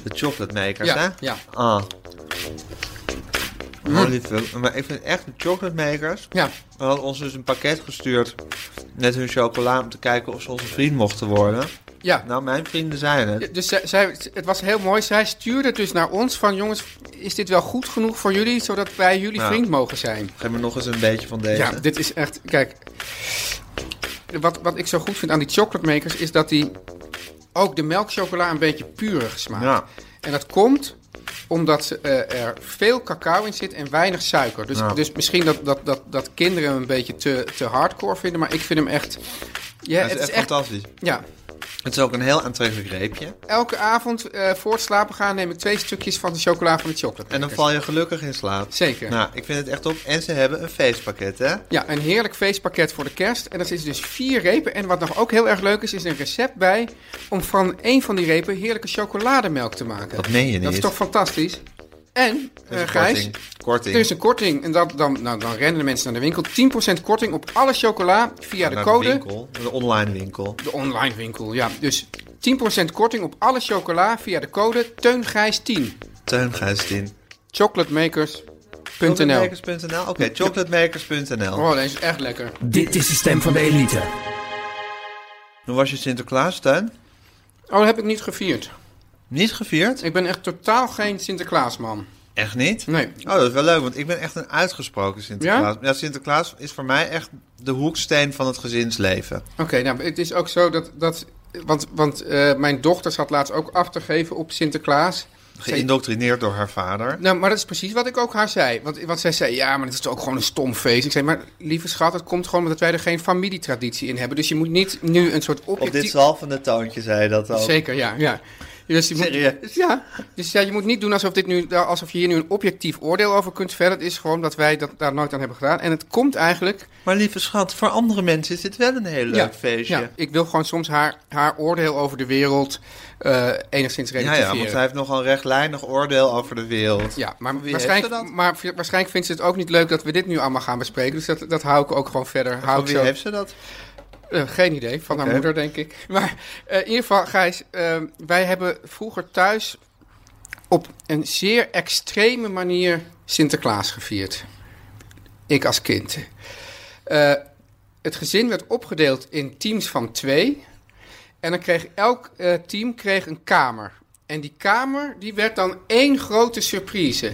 [SPEAKER 2] De chocolate makers, hè?
[SPEAKER 1] Ja, ja. Mm.
[SPEAKER 2] Ah. Holy fuck. Maar ik vind echt de chocolate makers.
[SPEAKER 1] Ja,
[SPEAKER 2] We hadden ons dus een pakket gestuurd met hun chocola om te kijken of ze onze vriend mochten worden.
[SPEAKER 1] ja.
[SPEAKER 2] Nou, mijn vrienden zijn het.
[SPEAKER 1] Ja, Dus zij, zij- het was heel mooi. Zij stuurde het dus naar ons van... jongens, is dit wel goed genoeg voor jullie... zodat wij jullie
[SPEAKER 2] Ja.
[SPEAKER 1] vriend mogen zijn?
[SPEAKER 2] Geef me nog eens een beetje van deze.
[SPEAKER 1] Ja, dit is echt... Kijk, wat, wat ik zo goed vind aan die chocolate makers... is dat die ook de melkchocola een beetje purig smaakt.
[SPEAKER 2] Ja.
[SPEAKER 1] En dat komt omdat ze, eh, er veel cacao in zit en weinig suiker. Dus,
[SPEAKER 2] Ja.
[SPEAKER 1] dus misschien dat, dat, dat, dat kinderen hem een beetje te, te hardcore vinden... maar ik vind hem echt... Ja,
[SPEAKER 2] dat is, echt fantastisch.
[SPEAKER 1] Ja,
[SPEAKER 2] Het is ook een heel aantrekkelijk reepje.
[SPEAKER 1] Elke avond eh, voor het slapen gaan neem ik twee stukjes van de chocola van de chocolade.
[SPEAKER 2] En dan val je gelukkig in slaap.
[SPEAKER 1] Zeker.
[SPEAKER 2] Nou, ik vind het echt op. En ze hebben een feestpakket, hè?
[SPEAKER 1] Ja, een heerlijk feestpakket voor de kerst. En dat is dus vier repen. En wat nog ook heel erg leuk is, is een recept bij om van één van die repen heerlijke chocolademelk te maken.
[SPEAKER 2] Dat meen je niet.
[SPEAKER 1] Dat is toch fantastisch? En,
[SPEAKER 2] Er is
[SPEAKER 1] eh,
[SPEAKER 2] een
[SPEAKER 1] Gijs,
[SPEAKER 2] korting. Korting.
[SPEAKER 1] er is een korting. En dat, dan, nou, dan rennen de mensen naar de winkel. 10% korting op alle chocola via de
[SPEAKER 2] Naar
[SPEAKER 1] code.
[SPEAKER 2] De, winkel, de online winkel.
[SPEAKER 1] De online winkel, ja. Dus 10% korting op alle chocola via de code TEUNGRIJS10.
[SPEAKER 2] Teun Gijsdien.
[SPEAKER 1] Chocolatemakers.nl
[SPEAKER 2] Chocolatemakers.nl? Oké, chocolatemakers.nl.
[SPEAKER 1] Oh, dat is echt lekker.
[SPEAKER 4] Dit is de stem van de elite.
[SPEAKER 2] Hoe was je Sinterklaas, Teun?
[SPEAKER 1] Oh, dat heb ik niet gevierd.
[SPEAKER 2] Niet gevierd?
[SPEAKER 1] Ik ben echt totaal geen Sinterklaasman.
[SPEAKER 2] Echt niet?
[SPEAKER 1] Nee.
[SPEAKER 2] Oh, dat is wel leuk, want ik ben echt een uitgesproken Sinterklaas. Ja? Sinterklaas is voor mij echt de hoeksteen van het gezinsleven.
[SPEAKER 1] Oké, nou, het is ook zo dat... dat want want eh, mijn dochter zat laatst ook af te geven op Sinterklaas. Zij-
[SPEAKER 2] Geïndoctrineerd door haar vader.
[SPEAKER 1] nou, maar dat is precies wat ik ook haar zei. Want, want zij zei, ja, maar het is toch ook gewoon een stom feest. Ik zei, maar lieve schat, het komt gewoon omdat wij er geen familietraditie in hebben. Dus je moet niet nu een soort
[SPEAKER 2] Op dit
[SPEAKER 1] objectief...
[SPEAKER 2] zalvende toontje zei je dat ook.
[SPEAKER 1] Zeker, ja, ja. Dus je moet,
[SPEAKER 2] Oh. Serieus?
[SPEAKER 1] Ja. Dus ja, je moet niet doen alsof, dit nu, alsof je hier nu een objectief oordeel over kunt vellen. Het is gewoon dat wij dat, daar nooit aan hebben gedaan. En het komt eigenlijk...
[SPEAKER 2] Maar lieve schat, voor andere mensen is dit wel een heel leuk feestje.
[SPEAKER 1] ja. ik wil gewoon soms haar, haar oordeel over de wereld eh, enigszins
[SPEAKER 2] Ja, ja,
[SPEAKER 1] relativeren.
[SPEAKER 2] want hij heeft nogal een rechtlijnig oordeel over de wereld.
[SPEAKER 1] Ja, maar
[SPEAKER 2] Wie
[SPEAKER 1] waarschijnlijk,
[SPEAKER 2] heeft ze dat?
[SPEAKER 1] maar v- waarschijnlijk vindt ze het ook niet leuk dat we dit nu allemaal gaan bespreken. Dus dat, dat hou ik ook gewoon verder. Hou
[SPEAKER 2] Van
[SPEAKER 1] ik
[SPEAKER 2] wie
[SPEAKER 1] zo,
[SPEAKER 2] heeft ze dat?
[SPEAKER 1] eh, geen idee, van haar
[SPEAKER 2] Oké.
[SPEAKER 1] moeder denk ik. Maar eh, in ieder geval, Gijs, eh, wij hebben vroeger thuis op een zeer extreme manier Sinterklaas gevierd. Ik als kind. Eh, het gezin werd opgedeeld in teams van twee. En dan kreeg elk eh, team kreeg een kamer. En die kamer die werd dan één grote surprise.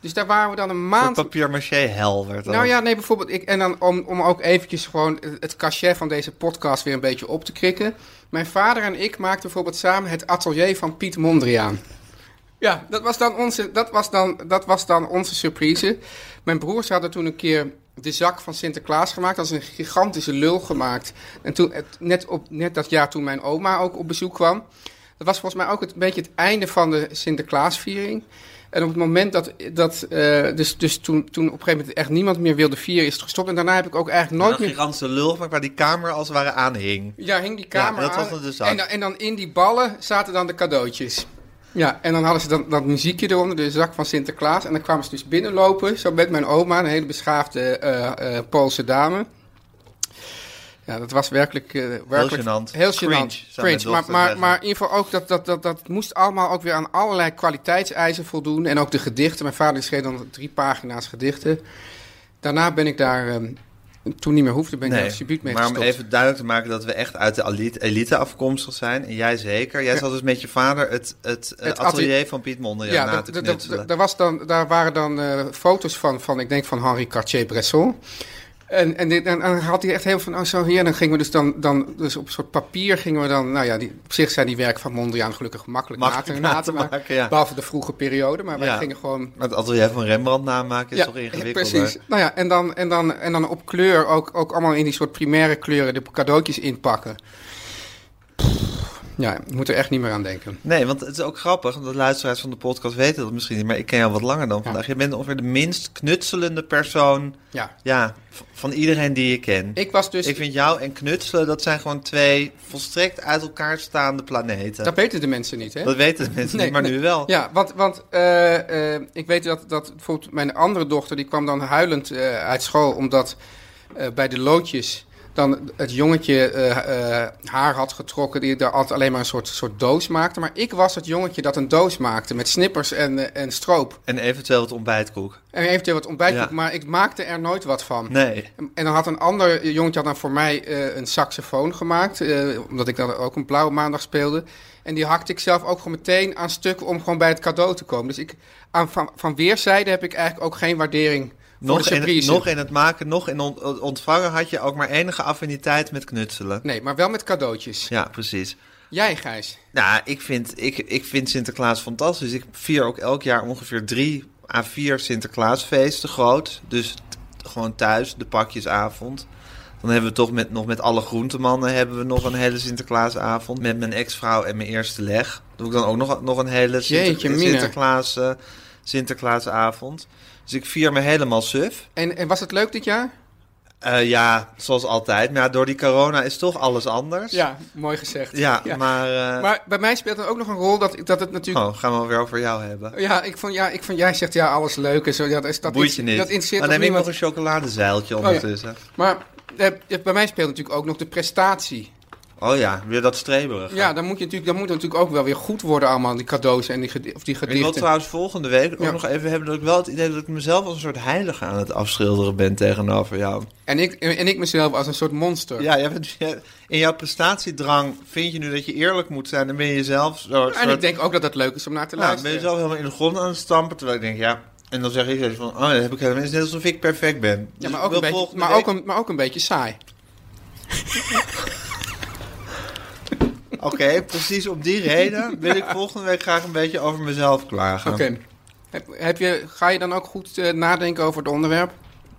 [SPEAKER 1] Dus daar waren we dan een
[SPEAKER 2] Voor
[SPEAKER 1] maand
[SPEAKER 2] papier maché hel werd dat.
[SPEAKER 1] nou ja, nee, bijvoorbeeld. Ik, en dan om, om ook eventjes gewoon het- het cachet van deze podcast weer een beetje op te krikken. Mijn vader en ik maakten bijvoorbeeld samen het atelier van Piet Mondriaan. Ja, dat was dan onze, dat was dan, dat was dan onze surprise. Mijn broers hadden toen een keer de zak van Sinterklaas gemaakt. Dat is een gigantische lul gemaakt. En toen, het- net, op, net dat jaar toen mijn oma ook op bezoek kwam. Dat was volgens mij ook het, een beetje het einde van de Sinterklaasviering. En op het moment dat, dat eh, dus, dus toen, toen op een gegeven moment echt niemand meer wilde vieren, is het gestopt. En daarna heb ik ook eigenlijk nooit
[SPEAKER 2] een
[SPEAKER 1] meer...
[SPEAKER 2] gigantische lul gemaakt waar die kamer als het ware aan hing.
[SPEAKER 1] Ja, hing die kamer
[SPEAKER 2] Ja, dat
[SPEAKER 1] aan.
[SPEAKER 2] was het dus ook.
[SPEAKER 1] en, dan, en dan in die ballen zaten dan de cadeautjes. Ja, en dan hadden ze dan, dat muziekje eronder, de zak van Sinterklaas. En dan kwamen ze dus binnenlopen, zo met mijn oma, een hele beschaafde eh, eh, Poolse dame. Ja, dat was werkelijk... eh, werkelijk
[SPEAKER 2] gênant.
[SPEAKER 1] Heel
[SPEAKER 2] Cringe,
[SPEAKER 1] gênant.
[SPEAKER 2] zou mijn
[SPEAKER 1] Cringe.
[SPEAKER 2] dochter
[SPEAKER 1] Maar, maar,
[SPEAKER 2] zeggen.
[SPEAKER 1] maar in ieder geval ook, dat, dat, dat, dat moest allemaal ook weer aan allerlei kwaliteitseisen voldoen. En ook de gedichten. Mijn vader schreef dan drie pagina's gedichten. Daarna ben ik daar, ehm, toen niet meer hoefde, ben ik daar alsjeblieft mee
[SPEAKER 2] maar om
[SPEAKER 1] gestopt.
[SPEAKER 2] even duidelijk te maken dat we echt uit de elite, elite afkomstig zijn. En jij zeker. Jij zat dus met je vader het, het, eh,
[SPEAKER 1] Het
[SPEAKER 2] atelier
[SPEAKER 1] atelier-
[SPEAKER 2] van Piet Mondriaan
[SPEAKER 1] Ja,
[SPEAKER 2] eh, na
[SPEAKER 1] dat-
[SPEAKER 2] te
[SPEAKER 1] dat-
[SPEAKER 2] knutselen.
[SPEAKER 1] dat- daar was dan, daar waren dan eh, foto's van, van, ik denk van Henri Cartier-Bresson. En, en, dit- en, en had hij echt heel van, oh zo hier. En dan gingen we dus dan, dan dus op een soort papier gingen we dan, nou ja, die, op zich zijn die werken van Mondriaan gelukkig makkelijk na te,
[SPEAKER 2] Makkelijk
[SPEAKER 1] na te maken.
[SPEAKER 2] ja.
[SPEAKER 1] Behalve de vroege periode, maar wij
[SPEAKER 2] Ja.
[SPEAKER 1] gingen gewoon...
[SPEAKER 2] Maar het atelier van Rembrandt namaken is toch ingewikkelder?
[SPEAKER 1] precies. Nou ja, en dan, en dan, en dan op kleur ook, ook allemaal in die soort primaire kleuren de cadeautjes inpakken. Pff, Ja, ik moet er echt niet meer aan denken.
[SPEAKER 2] Nee, want het is ook grappig, want de luisteraars van de podcast weten dat misschien niet, maar ik ken jou wat langer dan vandaag. Je bent ongeveer de minst knutselende persoon
[SPEAKER 1] Ja,
[SPEAKER 2] ja, v- van iedereen die je kent.
[SPEAKER 1] ik was dus...
[SPEAKER 2] Ik vind jou en knutselen, dat zijn gewoon twee volstrekt uit elkaar staande planeten.
[SPEAKER 1] dat
[SPEAKER 2] Dat,
[SPEAKER 1] weten de mensen niet, hè?
[SPEAKER 2] weten de mensen
[SPEAKER 1] Nee,
[SPEAKER 2] niet, maar
[SPEAKER 1] nee.
[SPEAKER 2] nu wel.
[SPEAKER 1] Ja, want, want eh, eh, ik weet dat, dat bijvoorbeeld mijn andere dochter... die kwam dan huilend eh, uit school... omdat eh, bij de loodjes dan het jongetje eh, eh, haar had getrokken... die daar altijd alleen maar een soort, soort doos maakte. Maar ik was het jongetje dat een doos maakte... met snippers en, eh, en stroop.
[SPEAKER 2] En eventueel het ontbijtkoek.
[SPEAKER 1] En eventueel wat ontbijtboek.
[SPEAKER 2] Ja.
[SPEAKER 1] Maar ik maakte er nooit wat van.
[SPEAKER 2] Nee.
[SPEAKER 1] En dan had een ander jongetje had dan voor mij eh, een saxofoon gemaakt. eh, omdat ik dan ook een blauwe maandag speelde. En die hakte ik zelf ook gewoon meteen aan stuk om gewoon bij het cadeau te komen. Dus ik, aan, van, van weerszijden heb ik eigenlijk ook geen waardering voor de
[SPEAKER 2] Nog in, het,
[SPEAKER 1] surprise.
[SPEAKER 2] nog in het maken, nog in ont- ontvangen had je ook maar enige affiniteit met knutselen.
[SPEAKER 1] Nee, maar wel met cadeautjes.
[SPEAKER 2] Ja, precies.
[SPEAKER 1] Jij, Gijs.
[SPEAKER 2] Nou, ik vind, ik, ik vind Sinterklaas fantastisch. Ik vier ook elk jaar ongeveer drie à vier Sinterklaasfeesten groot. Dus t- gewoon thuis, de pakjesavond. Dan hebben we toch met, nog met alle groentemannen hebben we nog een hele Sinterklaasavond. Met mijn ex-vrouw en mijn eerste leg. Doe ik dan ook nog, nog een hele Sinter-
[SPEAKER 1] Jeetje, mina.
[SPEAKER 2] Sinterklaas, eh, Sinterklaasavond. Dus ik vier me helemaal suf.
[SPEAKER 1] En, en was het leuk dit jaar?
[SPEAKER 2] Eh, ja, zoals altijd. Maar ja, door die corona is toch alles anders.
[SPEAKER 1] Ja, mooi gezegd.
[SPEAKER 2] Ja,
[SPEAKER 1] Ja.
[SPEAKER 2] maar... eh,
[SPEAKER 1] Maar bij mij speelt er ook nog een rol dat, ik- dat het natuurlijk...
[SPEAKER 2] Oh, gaan we weer over jou hebben.
[SPEAKER 1] Ja, ik vond, ja, ik vond, jij zegt ja, alles leuk en zo. Ja, dat, is- dat,
[SPEAKER 2] Oh. Boeit je
[SPEAKER 1] is-
[SPEAKER 2] niet.
[SPEAKER 1] dat interesseert
[SPEAKER 2] Dan
[SPEAKER 1] toch
[SPEAKER 2] heb ik
[SPEAKER 1] niemand.
[SPEAKER 2] nog een chocoladezeiltje
[SPEAKER 1] ja.
[SPEAKER 2] ondertussen. Oh
[SPEAKER 1] Maar eh, bij mij speelt natuurlijk ook nog de prestatie.
[SPEAKER 2] Oh ja. weer dat streberig.
[SPEAKER 1] Ja, dan moet je natuurlijk, dan moet het natuurlijk ook wel weer goed worden allemaal, die cadeaus en die, gedi- of die
[SPEAKER 2] ik wil
[SPEAKER 1] gedichten.
[SPEAKER 2] trouwens volgende week ook
[SPEAKER 1] Ja.
[SPEAKER 2] nog even hebben dat ik wel het idee dat ik mezelf als een soort heilige aan het afschilderen ben tegenover jou.
[SPEAKER 1] en, ik, en, en ik mezelf als een soort monster.
[SPEAKER 2] Ja, jij bent, in jouw prestatiedrang vind je nu dat je eerlijk moet zijn. Dan ben je jezelf zo, soort,
[SPEAKER 1] en ik denk ook dat het leuk is om naar te
[SPEAKER 2] ja, dan ben
[SPEAKER 1] luisteren.
[SPEAKER 2] je zelf helemaal in de grond aan het stampen. Terwijl ik denk, ja. En dan zeg ik zelf van, oh, dat heb ik helemaal. Het is net alsof ik perfect ben.
[SPEAKER 1] ja,
[SPEAKER 2] Dus
[SPEAKER 1] maar
[SPEAKER 2] ik
[SPEAKER 1] ook,
[SPEAKER 2] wil
[SPEAKER 1] een beetje,
[SPEAKER 2] volgende
[SPEAKER 1] maar,
[SPEAKER 2] week-
[SPEAKER 1] ook een, maar ook een beetje saai.
[SPEAKER 2] Oké, precies om die reden wil ik volgende week graag een beetje over mezelf klagen.
[SPEAKER 1] Oké. Heb, heb je, ga je dan ook goed eh, nadenken over het onderwerp?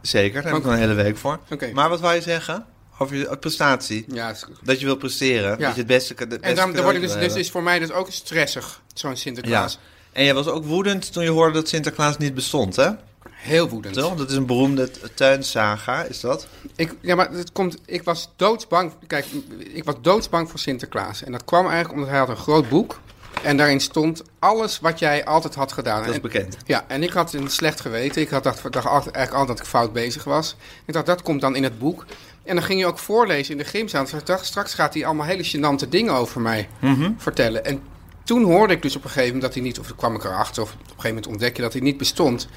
[SPEAKER 2] Zeker, daar heb ik
[SPEAKER 1] Oké.
[SPEAKER 2] nog een hele week voor.
[SPEAKER 1] Oké.
[SPEAKER 2] Maar wat wou je zeggen? over je prestatie.
[SPEAKER 1] Ja, is goed.
[SPEAKER 2] Dat je wil presteren. Dat je het beste kan.
[SPEAKER 1] En daarom dan word ik dus, dus is voor mij dus ook stressig, zo'n
[SPEAKER 2] Ja.
[SPEAKER 1] Sinterklaas.
[SPEAKER 2] En jij was ook woedend toen je hoorde dat Sinterklaas niet bestond, hè?
[SPEAKER 1] Heel woedend.
[SPEAKER 2] Toch? Dat is een beroemde t- tuinsaga, is dat?
[SPEAKER 1] Ik, ja, maar het komt, ik was doodsbang. Kijk, ik was doodsbang voor Sinterklaas. En dat kwam eigenlijk omdat hij had een groot boek. En daarin stond alles wat jij altijd had gedaan.
[SPEAKER 2] Dat is
[SPEAKER 1] En-
[SPEAKER 2] bekend.
[SPEAKER 1] Ja, en ik had een slecht geweten. Ik had dacht, dacht altijd- eigenlijk altijd dat ik fout bezig was. Ik dacht, dat komt dan in het boek. En dan ging je ook voorlezen in de gymzaal. Dus ik dacht, straks gaat hij allemaal hele gênante dingen over mij
[SPEAKER 2] Mhm.
[SPEAKER 1] vertellen. En toen hoorde ik dus op een gegeven moment dat hij niet... of toen kwam ik erachter, of op een gegeven moment ontdek je dat hij niet bestond.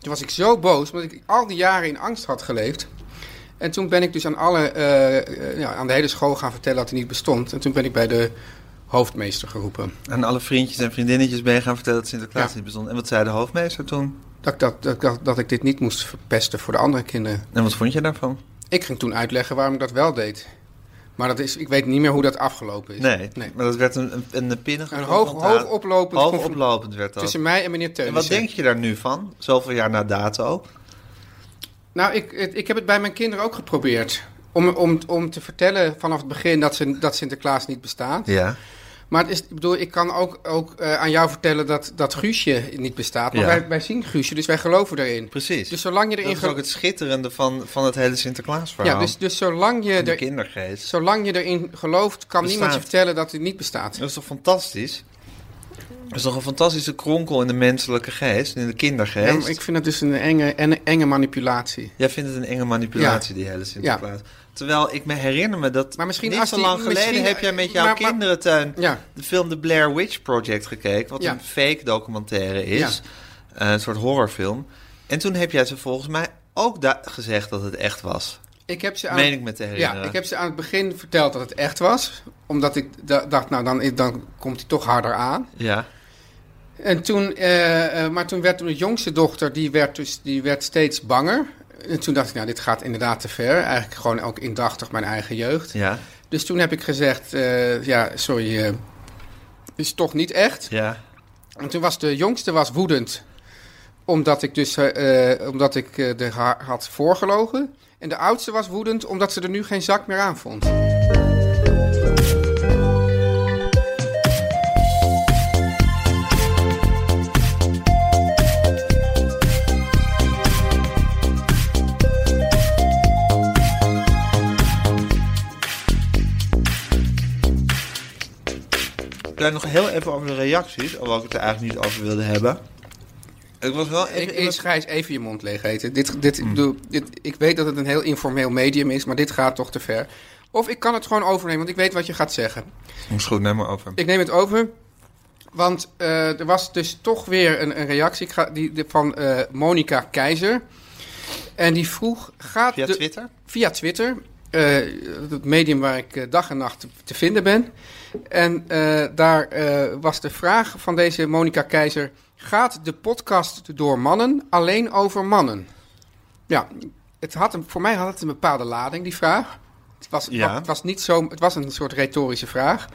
[SPEAKER 1] Toen was ik zo boos, omdat ik al die jaren in angst had geleefd. En toen ben ik dus aan, alle, eh, eh, ja, aan de hele school gaan vertellen dat hij niet bestond. En toen ben ik bij de hoofdmeester geroepen.
[SPEAKER 2] Aan alle vriendjes en vriendinnetjes ben je gaan vertellen dat Sinterklaas
[SPEAKER 1] Ja.
[SPEAKER 2] niet bestond. En wat zei de hoofdmeester toen?
[SPEAKER 1] Dat, ik dat, dat, dat, dat ik dit niet moest verpesten voor de andere kinderen.
[SPEAKER 2] En wat vond je daarvan?
[SPEAKER 1] Ik ging toen uitleggen waarom ik dat wel deed. Maar dat is, ik weet niet meer hoe dat afgelopen is.
[SPEAKER 2] Nee,
[SPEAKER 1] nee.
[SPEAKER 2] maar dat werd een, een, een pinnige...
[SPEAKER 1] Een hoog,
[SPEAKER 2] confrontatie.
[SPEAKER 1] hoog oplopend
[SPEAKER 2] Hoog
[SPEAKER 1] conflict
[SPEAKER 2] oplopend werd dat.
[SPEAKER 1] tussen mij en meneer Teunissen.
[SPEAKER 2] En wat denk je daar nu van? Zoveel jaar na dato?
[SPEAKER 1] Nou, ik, het- ik heb het bij mijn kinderen ook geprobeerd. Om, om, om te vertellen vanaf het begin dat, ze, dat Sinterklaas niet bestaat.
[SPEAKER 2] Ja.
[SPEAKER 1] Maar het is, ik bedoel, ik kan ook, ook eh, aan jou vertellen dat, dat Guusje niet bestaat. Maar
[SPEAKER 2] Ja.
[SPEAKER 1] wij, wij zien Guusje, dus wij geloven erin.
[SPEAKER 2] Precies.
[SPEAKER 1] Dus zolang je erin
[SPEAKER 2] dat is
[SPEAKER 1] gelo-
[SPEAKER 2] ook het schitterende van, van het hele Sinterklaas verhaal.
[SPEAKER 1] Ja, dus, dus zolang, je
[SPEAKER 2] de
[SPEAKER 1] er,
[SPEAKER 2] kindergeest.
[SPEAKER 1] zolang je erin gelooft, kan niemand je
[SPEAKER 2] Bestaat.
[SPEAKER 1] vertellen dat hij niet bestaat.
[SPEAKER 2] Dat is toch fantastisch? Dat is toch een fantastische kronkel in de menselijke geest, in de
[SPEAKER 1] Ja,
[SPEAKER 2] kindergeest.
[SPEAKER 1] maar ik vind dat dus een enge, enge, enge manipulatie.
[SPEAKER 2] Jij vindt het een enge manipulatie, die hele Sinterklaas. Terwijl ik me herinner me dat
[SPEAKER 1] Maar misschien
[SPEAKER 2] niet
[SPEAKER 1] als
[SPEAKER 2] zo
[SPEAKER 1] die-
[SPEAKER 2] lang geleden
[SPEAKER 1] misschien-
[SPEAKER 2] heb jij met jouw
[SPEAKER 1] maar- maar-
[SPEAKER 2] kinderentuin
[SPEAKER 1] Ja.
[SPEAKER 2] de film The Blair Witch Project gekeken. Wat
[SPEAKER 1] Ja.
[SPEAKER 2] een fake documentaire is. Eh, een soort horrorfilm. En toen heb jij ze volgens mij ook da- gezegd dat het echt was.
[SPEAKER 1] Ik heb ze aan,
[SPEAKER 2] Meen ik me te herinneren.
[SPEAKER 1] ja, ik heb ze aan het begin verteld dat het echt was. Omdat ik da- dacht, nou dan, dan komt hij toch harder aan.
[SPEAKER 2] Ja.
[SPEAKER 1] En toen, eh, eh, maar toen werd mijn jongste dochter, die werd, dus, die werd steeds banger. En toen dacht ik, nou dit gaat inderdaad te ver. Eigenlijk gewoon ook indachtig mijn eigen jeugd.
[SPEAKER 2] Ja.
[SPEAKER 1] Dus toen heb ik gezegd, eh, ja sorry, eh, is toch niet echt.
[SPEAKER 2] Ja.
[SPEAKER 1] En toen was de jongste was woedend. Omdat ik dus eh, eh, omdat ik, eh, de haar had voorgelogen. En de oudste was woedend omdat ze er nu geen zak meer aan vond.
[SPEAKER 2] Daar nog heel even over de reacties, alhoewel ik het er eigenlijk niet over wilde hebben. Ik was wel even...
[SPEAKER 1] Ik,
[SPEAKER 2] in
[SPEAKER 1] ik
[SPEAKER 2] het-
[SPEAKER 1] Gijs, even je mond leeg eten. Dit, dit, ik bedoel, dit, ik weet dat het een heel informeel medium is, maar dit gaat toch te ver. Of ik kan het gewoon overnemen, want ik weet wat je gaat zeggen.
[SPEAKER 2] Is goed, neem maar over.
[SPEAKER 1] Ik neem het over. Want eh, er was dus toch weer een, een reactie ik ga, die, die- van eh Monika Keizer. En die vroeg: gaat
[SPEAKER 2] Via
[SPEAKER 1] de,
[SPEAKER 2] Twitter?
[SPEAKER 1] via Twitter. eh, het medium waar ik eh, dag en nacht te, te vinden ben. En eh, daar eh, was de vraag van deze Monika Keizer... gaat de podcast door mannen alleen over mannen? Ja, het had een, voor mij had het een bepaalde lading, die vraag. Het was,
[SPEAKER 2] Ja.
[SPEAKER 1] het was, niet zo, het was een soort retorische vraag.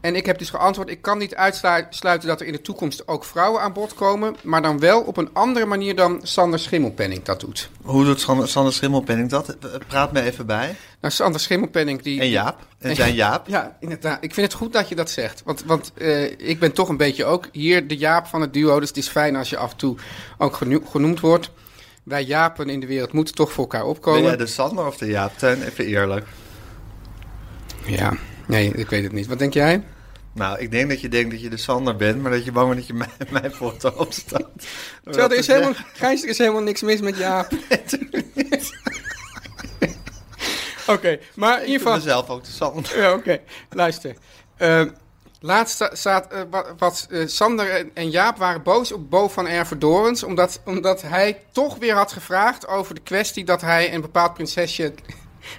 [SPEAKER 1] En ik heb dus geantwoord: ik kan niet uitsluiten dat er in de toekomst ook vrouwen aan bod komen, maar dan wel op een andere manier dan Sander Schimmelpenning dat doet.
[SPEAKER 2] Hoe doet Sander, Sander Schimmelpenning dat? Eh, Praat me even bij.
[SPEAKER 1] Nou, Sander Schimmelpenning die.
[SPEAKER 2] En Jaap. En zijn Jaap.
[SPEAKER 1] Ja, inderdaad. Ik vind het goed dat je dat zegt. Want, want eh, ik ben toch een beetje ook hier de Jaap van het duo. Dus het is fijn als je af en toe ook geno- genoemd wordt. Wij Japen in de wereld moeten toch voor elkaar
[SPEAKER 2] Ben
[SPEAKER 1] opkomen.
[SPEAKER 2] jij de Sander of de Jaap? Teun, even eerlijk.
[SPEAKER 1] Ja, nee, ik weet het niet. Wat denk jij?
[SPEAKER 2] Nou, ik denk dat je denkt dat je de Sander bent, maar dat je bang bent dat je mijn, mijn foto opstaat. Door dat
[SPEAKER 1] Terwijl er is
[SPEAKER 2] te
[SPEAKER 1] helemaal,
[SPEAKER 2] zeggen.
[SPEAKER 1] Gijs, er is helemaal niks mis met Jaap. Oké, maar in ieder
[SPEAKER 2] Ik vind
[SPEAKER 1] geval...
[SPEAKER 2] mezelf ook de Sander.
[SPEAKER 1] Ja, oké. Luister. Eh, laatst sta- staat eh, wat, wat, eh, Sander en, en Jaap waren boos op Bo van Erverdorens. Omdat, omdat hij toch weer had gevraagd over de kwestie dat hij een bepaald prinsesje.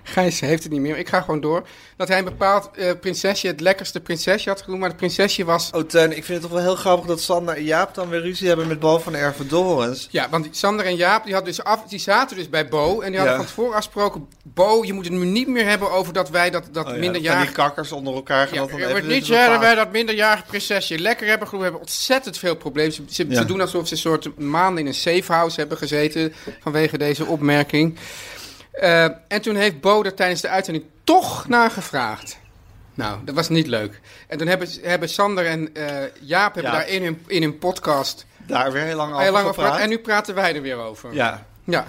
[SPEAKER 1] Gijs heeft het niet meer, ik ga gewoon door. Dat hij een bepaald eh, prinsesje het lekkerste prinsesje had genoemd. Maar het prinsesje was.
[SPEAKER 2] Oh, Teun, ik vind het toch wel heel grappig dat Sander en Jaap dan weer ruzie hebben met Bo van Ervedorens.
[SPEAKER 1] Ja, want die Sander en Jaap die had dus af, die zaten dus bij Bo. En die hadden
[SPEAKER 2] Ja.
[SPEAKER 1] van tevoren afgesproken: Bo, je moet het nu niet meer hebben over dat wij dat, dat
[SPEAKER 2] Oh ja,
[SPEAKER 1] minderjarige.
[SPEAKER 2] van die kakkers onder elkaar gaan
[SPEAKER 1] Ja,
[SPEAKER 2] dat dan
[SPEAKER 1] er
[SPEAKER 2] even
[SPEAKER 1] wordt niet
[SPEAKER 2] tussen
[SPEAKER 1] zo dat
[SPEAKER 2] elkaar-
[SPEAKER 1] wij dat minderjarige prinsesje lekker hebben genoemd. We hebben ontzettend veel problemen. Ze, ze-
[SPEAKER 2] Ja.
[SPEAKER 1] ze doen alsof ze een soort maanden in een safe house hebben gezeten vanwege deze opmerking. Eh, en toen heeft Bo er tijdens de uitzending toch naar gevraagd. Nou, dat was niet leuk. En toen hebben, hebben Sander en eh, Jaap hebben
[SPEAKER 2] Ja.
[SPEAKER 1] daar in hun, in hun podcast
[SPEAKER 2] Daar weer heel lang over
[SPEAKER 1] heel lang over
[SPEAKER 2] gepraat.
[SPEAKER 1] gepraat. En nu praten wij er weer over.
[SPEAKER 2] Ja,
[SPEAKER 1] Ja.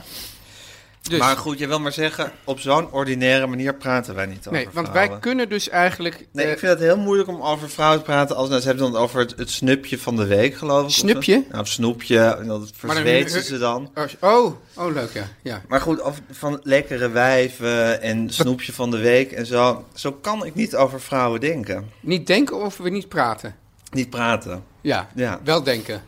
[SPEAKER 1] Dus,
[SPEAKER 2] maar goed, je wil maar zeggen, op zo'n ordinaire manier praten wij niet over
[SPEAKER 1] nee, want
[SPEAKER 2] vrouwen.
[SPEAKER 1] wij kunnen dus eigenlijk...
[SPEAKER 2] Nee,
[SPEAKER 1] eh,
[SPEAKER 2] ik vind het heel moeilijk om over vrouwen te praten. Als, nou, ze hebben dan over het, het snupje van de week, geloof ik. of zo.
[SPEAKER 1] Snupje?
[SPEAKER 2] Ja, of snoepje. En dat
[SPEAKER 1] Maar dan-
[SPEAKER 2] verzweet ze ze dan.
[SPEAKER 1] als- Oh, oh leuk, ja. ja.
[SPEAKER 2] Maar goed, of, van lekkere wijven en snoepje van de week en zo. Zo kan ik niet over vrouwen denken.
[SPEAKER 1] Niet denken of we niet praten.
[SPEAKER 2] Niet praten.
[SPEAKER 1] Ja,
[SPEAKER 2] Ja.
[SPEAKER 1] wel denken.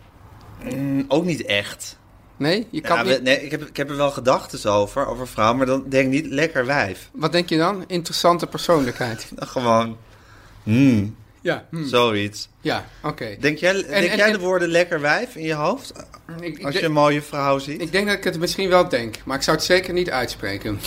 [SPEAKER 2] Mm, Ook niet echt.
[SPEAKER 1] Nee, je kan
[SPEAKER 2] Ja,
[SPEAKER 1] niet...
[SPEAKER 2] we- nee, ik, heb, ik heb er wel gedachten over, over vrouwen. Maar dan denk ik niet lekker wijf.
[SPEAKER 1] Wat denk je dan? Interessante persoonlijkheid.
[SPEAKER 2] Dan gewoon, hmm,
[SPEAKER 1] Ja, hm.
[SPEAKER 2] zoiets.
[SPEAKER 1] ja oké.
[SPEAKER 2] Denk jij, denk
[SPEAKER 1] en-
[SPEAKER 2] jij de
[SPEAKER 1] en-
[SPEAKER 2] woorden lekker wijf in je hoofd?
[SPEAKER 1] Ik- ik
[SPEAKER 2] Als je
[SPEAKER 1] denk-
[SPEAKER 2] een mooie vrouw ziet?
[SPEAKER 1] Ik denk dat ik het misschien wel denk, maar ik zou het zeker niet uitspreken.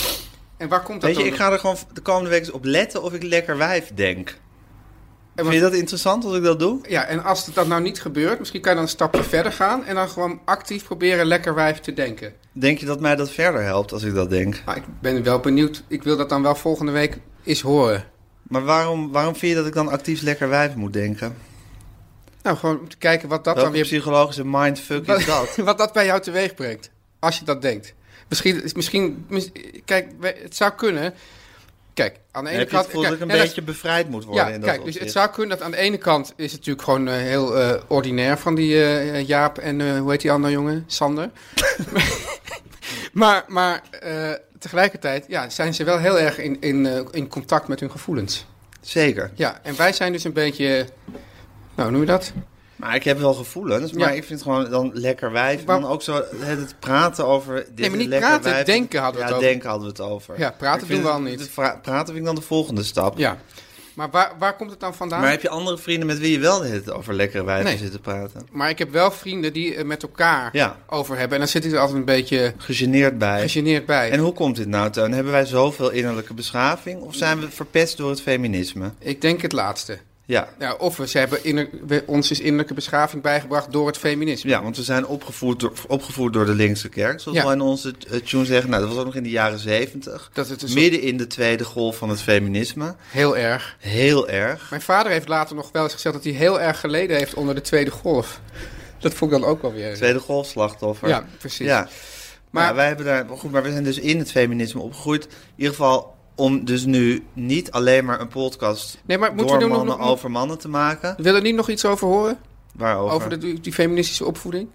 [SPEAKER 1] En waar komt dat
[SPEAKER 2] Weet je,
[SPEAKER 1] dan
[SPEAKER 2] ik ga er gewoon de komende week eens op letten of ik lekker wijf denk.
[SPEAKER 1] En
[SPEAKER 2] Vind
[SPEAKER 1] wat-
[SPEAKER 2] je dat interessant als ik dat doe?
[SPEAKER 1] Ja, en als dat nou niet gebeurt, misschien kan je dan een stapje verder gaan en dan gewoon actief proberen lekker wijf te denken.
[SPEAKER 2] Denk je dat mij dat verder helpt als ik dat denk?
[SPEAKER 1] Maar ik ben wel benieuwd, ik wil dat dan wel volgende week eens horen.
[SPEAKER 2] Maar waarom, waarom vind je dat ik dan actief lekker wijf moet denken?
[SPEAKER 1] Nou, gewoon om te kijken wat dat
[SPEAKER 2] Welke
[SPEAKER 1] dan weer
[SPEAKER 2] psychologische mindfuck is dat?
[SPEAKER 1] wat dat bij jou teweeg brengt, als je dat denkt. Misschien, misschien mis- kijk, we- het zou kunnen. Kijk, aan de ene
[SPEAKER 2] Heb je
[SPEAKER 1] kant.
[SPEAKER 2] het gevoel dat
[SPEAKER 1] kijk,
[SPEAKER 2] ik een
[SPEAKER 1] nee, dat-
[SPEAKER 2] beetje bevrijd moet worden
[SPEAKER 1] Ja,
[SPEAKER 2] in dat
[SPEAKER 1] kijk, dus het
[SPEAKER 2] opzicht?
[SPEAKER 1] zou kunnen dat aan de ene kant is het natuurlijk gewoon eh, heel eh, ordinair van die eh, Jaap en eh, hoe heet die andere jongen? Sander. maar maar eh, tegelijkertijd ja, zijn ze wel heel erg in, in, eh, in contact met hun gevoelens.
[SPEAKER 2] Zeker.
[SPEAKER 1] Ja, en wij zijn dus een beetje, eh, nou hoe noem je dat?
[SPEAKER 2] Maar ik heb wel gevoelens, maar
[SPEAKER 1] Ja.
[SPEAKER 2] ik vind gewoon dan lekker wijf.
[SPEAKER 1] Maar-
[SPEAKER 2] en dan ook zo het praten over... Dit
[SPEAKER 1] Nee, maar
[SPEAKER 2] is
[SPEAKER 1] niet
[SPEAKER 2] lekker
[SPEAKER 1] praten,
[SPEAKER 2] wijf.
[SPEAKER 1] denken hadden we
[SPEAKER 2] ja,
[SPEAKER 1] het over.
[SPEAKER 2] denken hadden we het over.
[SPEAKER 1] Ja, praten
[SPEAKER 2] Ik vind
[SPEAKER 1] doen we
[SPEAKER 2] het-
[SPEAKER 1] al niet.
[SPEAKER 2] de vra- Praten vind ik dan de volgende stap.
[SPEAKER 1] Ja, maar waar, waar komt het dan vandaan?
[SPEAKER 2] Maar heb je andere vrienden met wie je wel de hele tijd over lekkere wijven
[SPEAKER 1] Nee.
[SPEAKER 2] zit te praten?
[SPEAKER 1] Maar ik heb wel vrienden die eh, met elkaar
[SPEAKER 2] Ja.
[SPEAKER 1] over hebben. En dan zit ik er altijd een beetje
[SPEAKER 2] Gegeneerd bij.
[SPEAKER 1] gegeneerd bij.
[SPEAKER 2] En hoe komt dit nou, Teun? Hebben wij zoveel innerlijke beschaving? Of zijn we verpest door het feminisme?
[SPEAKER 1] Ik denk het laatste.
[SPEAKER 2] Ja.
[SPEAKER 1] Ja, of we, ze hebben inner, we- ons is innerlijke beschaving bijgebracht door het feminisme.
[SPEAKER 2] Ja, want we zijn opgevoed door, opgevoed door de linkse kerk. Zoals
[SPEAKER 1] Ja.
[SPEAKER 2] we in onze eh, tune zeggen. Nou, dat was ook nog in de jaren zeventig.
[SPEAKER 1] Dat het een soort-
[SPEAKER 2] Midden in de tweede golf van het feminisme.
[SPEAKER 1] Heel erg.
[SPEAKER 2] Heel erg.
[SPEAKER 1] Mijn vader heeft later nog wel eens gezegd dat hij heel erg geleden heeft onder de tweede golf. Dat vond ik dan ook wel weer.
[SPEAKER 2] Tweede golf slachtoffer.
[SPEAKER 1] Ja, precies.
[SPEAKER 2] Ja. Maar,
[SPEAKER 1] Maar-
[SPEAKER 2] wij hebben daar, maar goed, maar we zijn dus in het feminisme opgegroeid. In ieder geval om dus nu niet alleen maar een podcast
[SPEAKER 1] Nee, maar moeten
[SPEAKER 2] door
[SPEAKER 1] we doen nog-
[SPEAKER 2] mannen
[SPEAKER 1] nog-
[SPEAKER 2] over mannen te maken.
[SPEAKER 1] Wil er niet nog iets over horen?
[SPEAKER 2] Waarover?
[SPEAKER 1] Over de, die feministische opvoeding?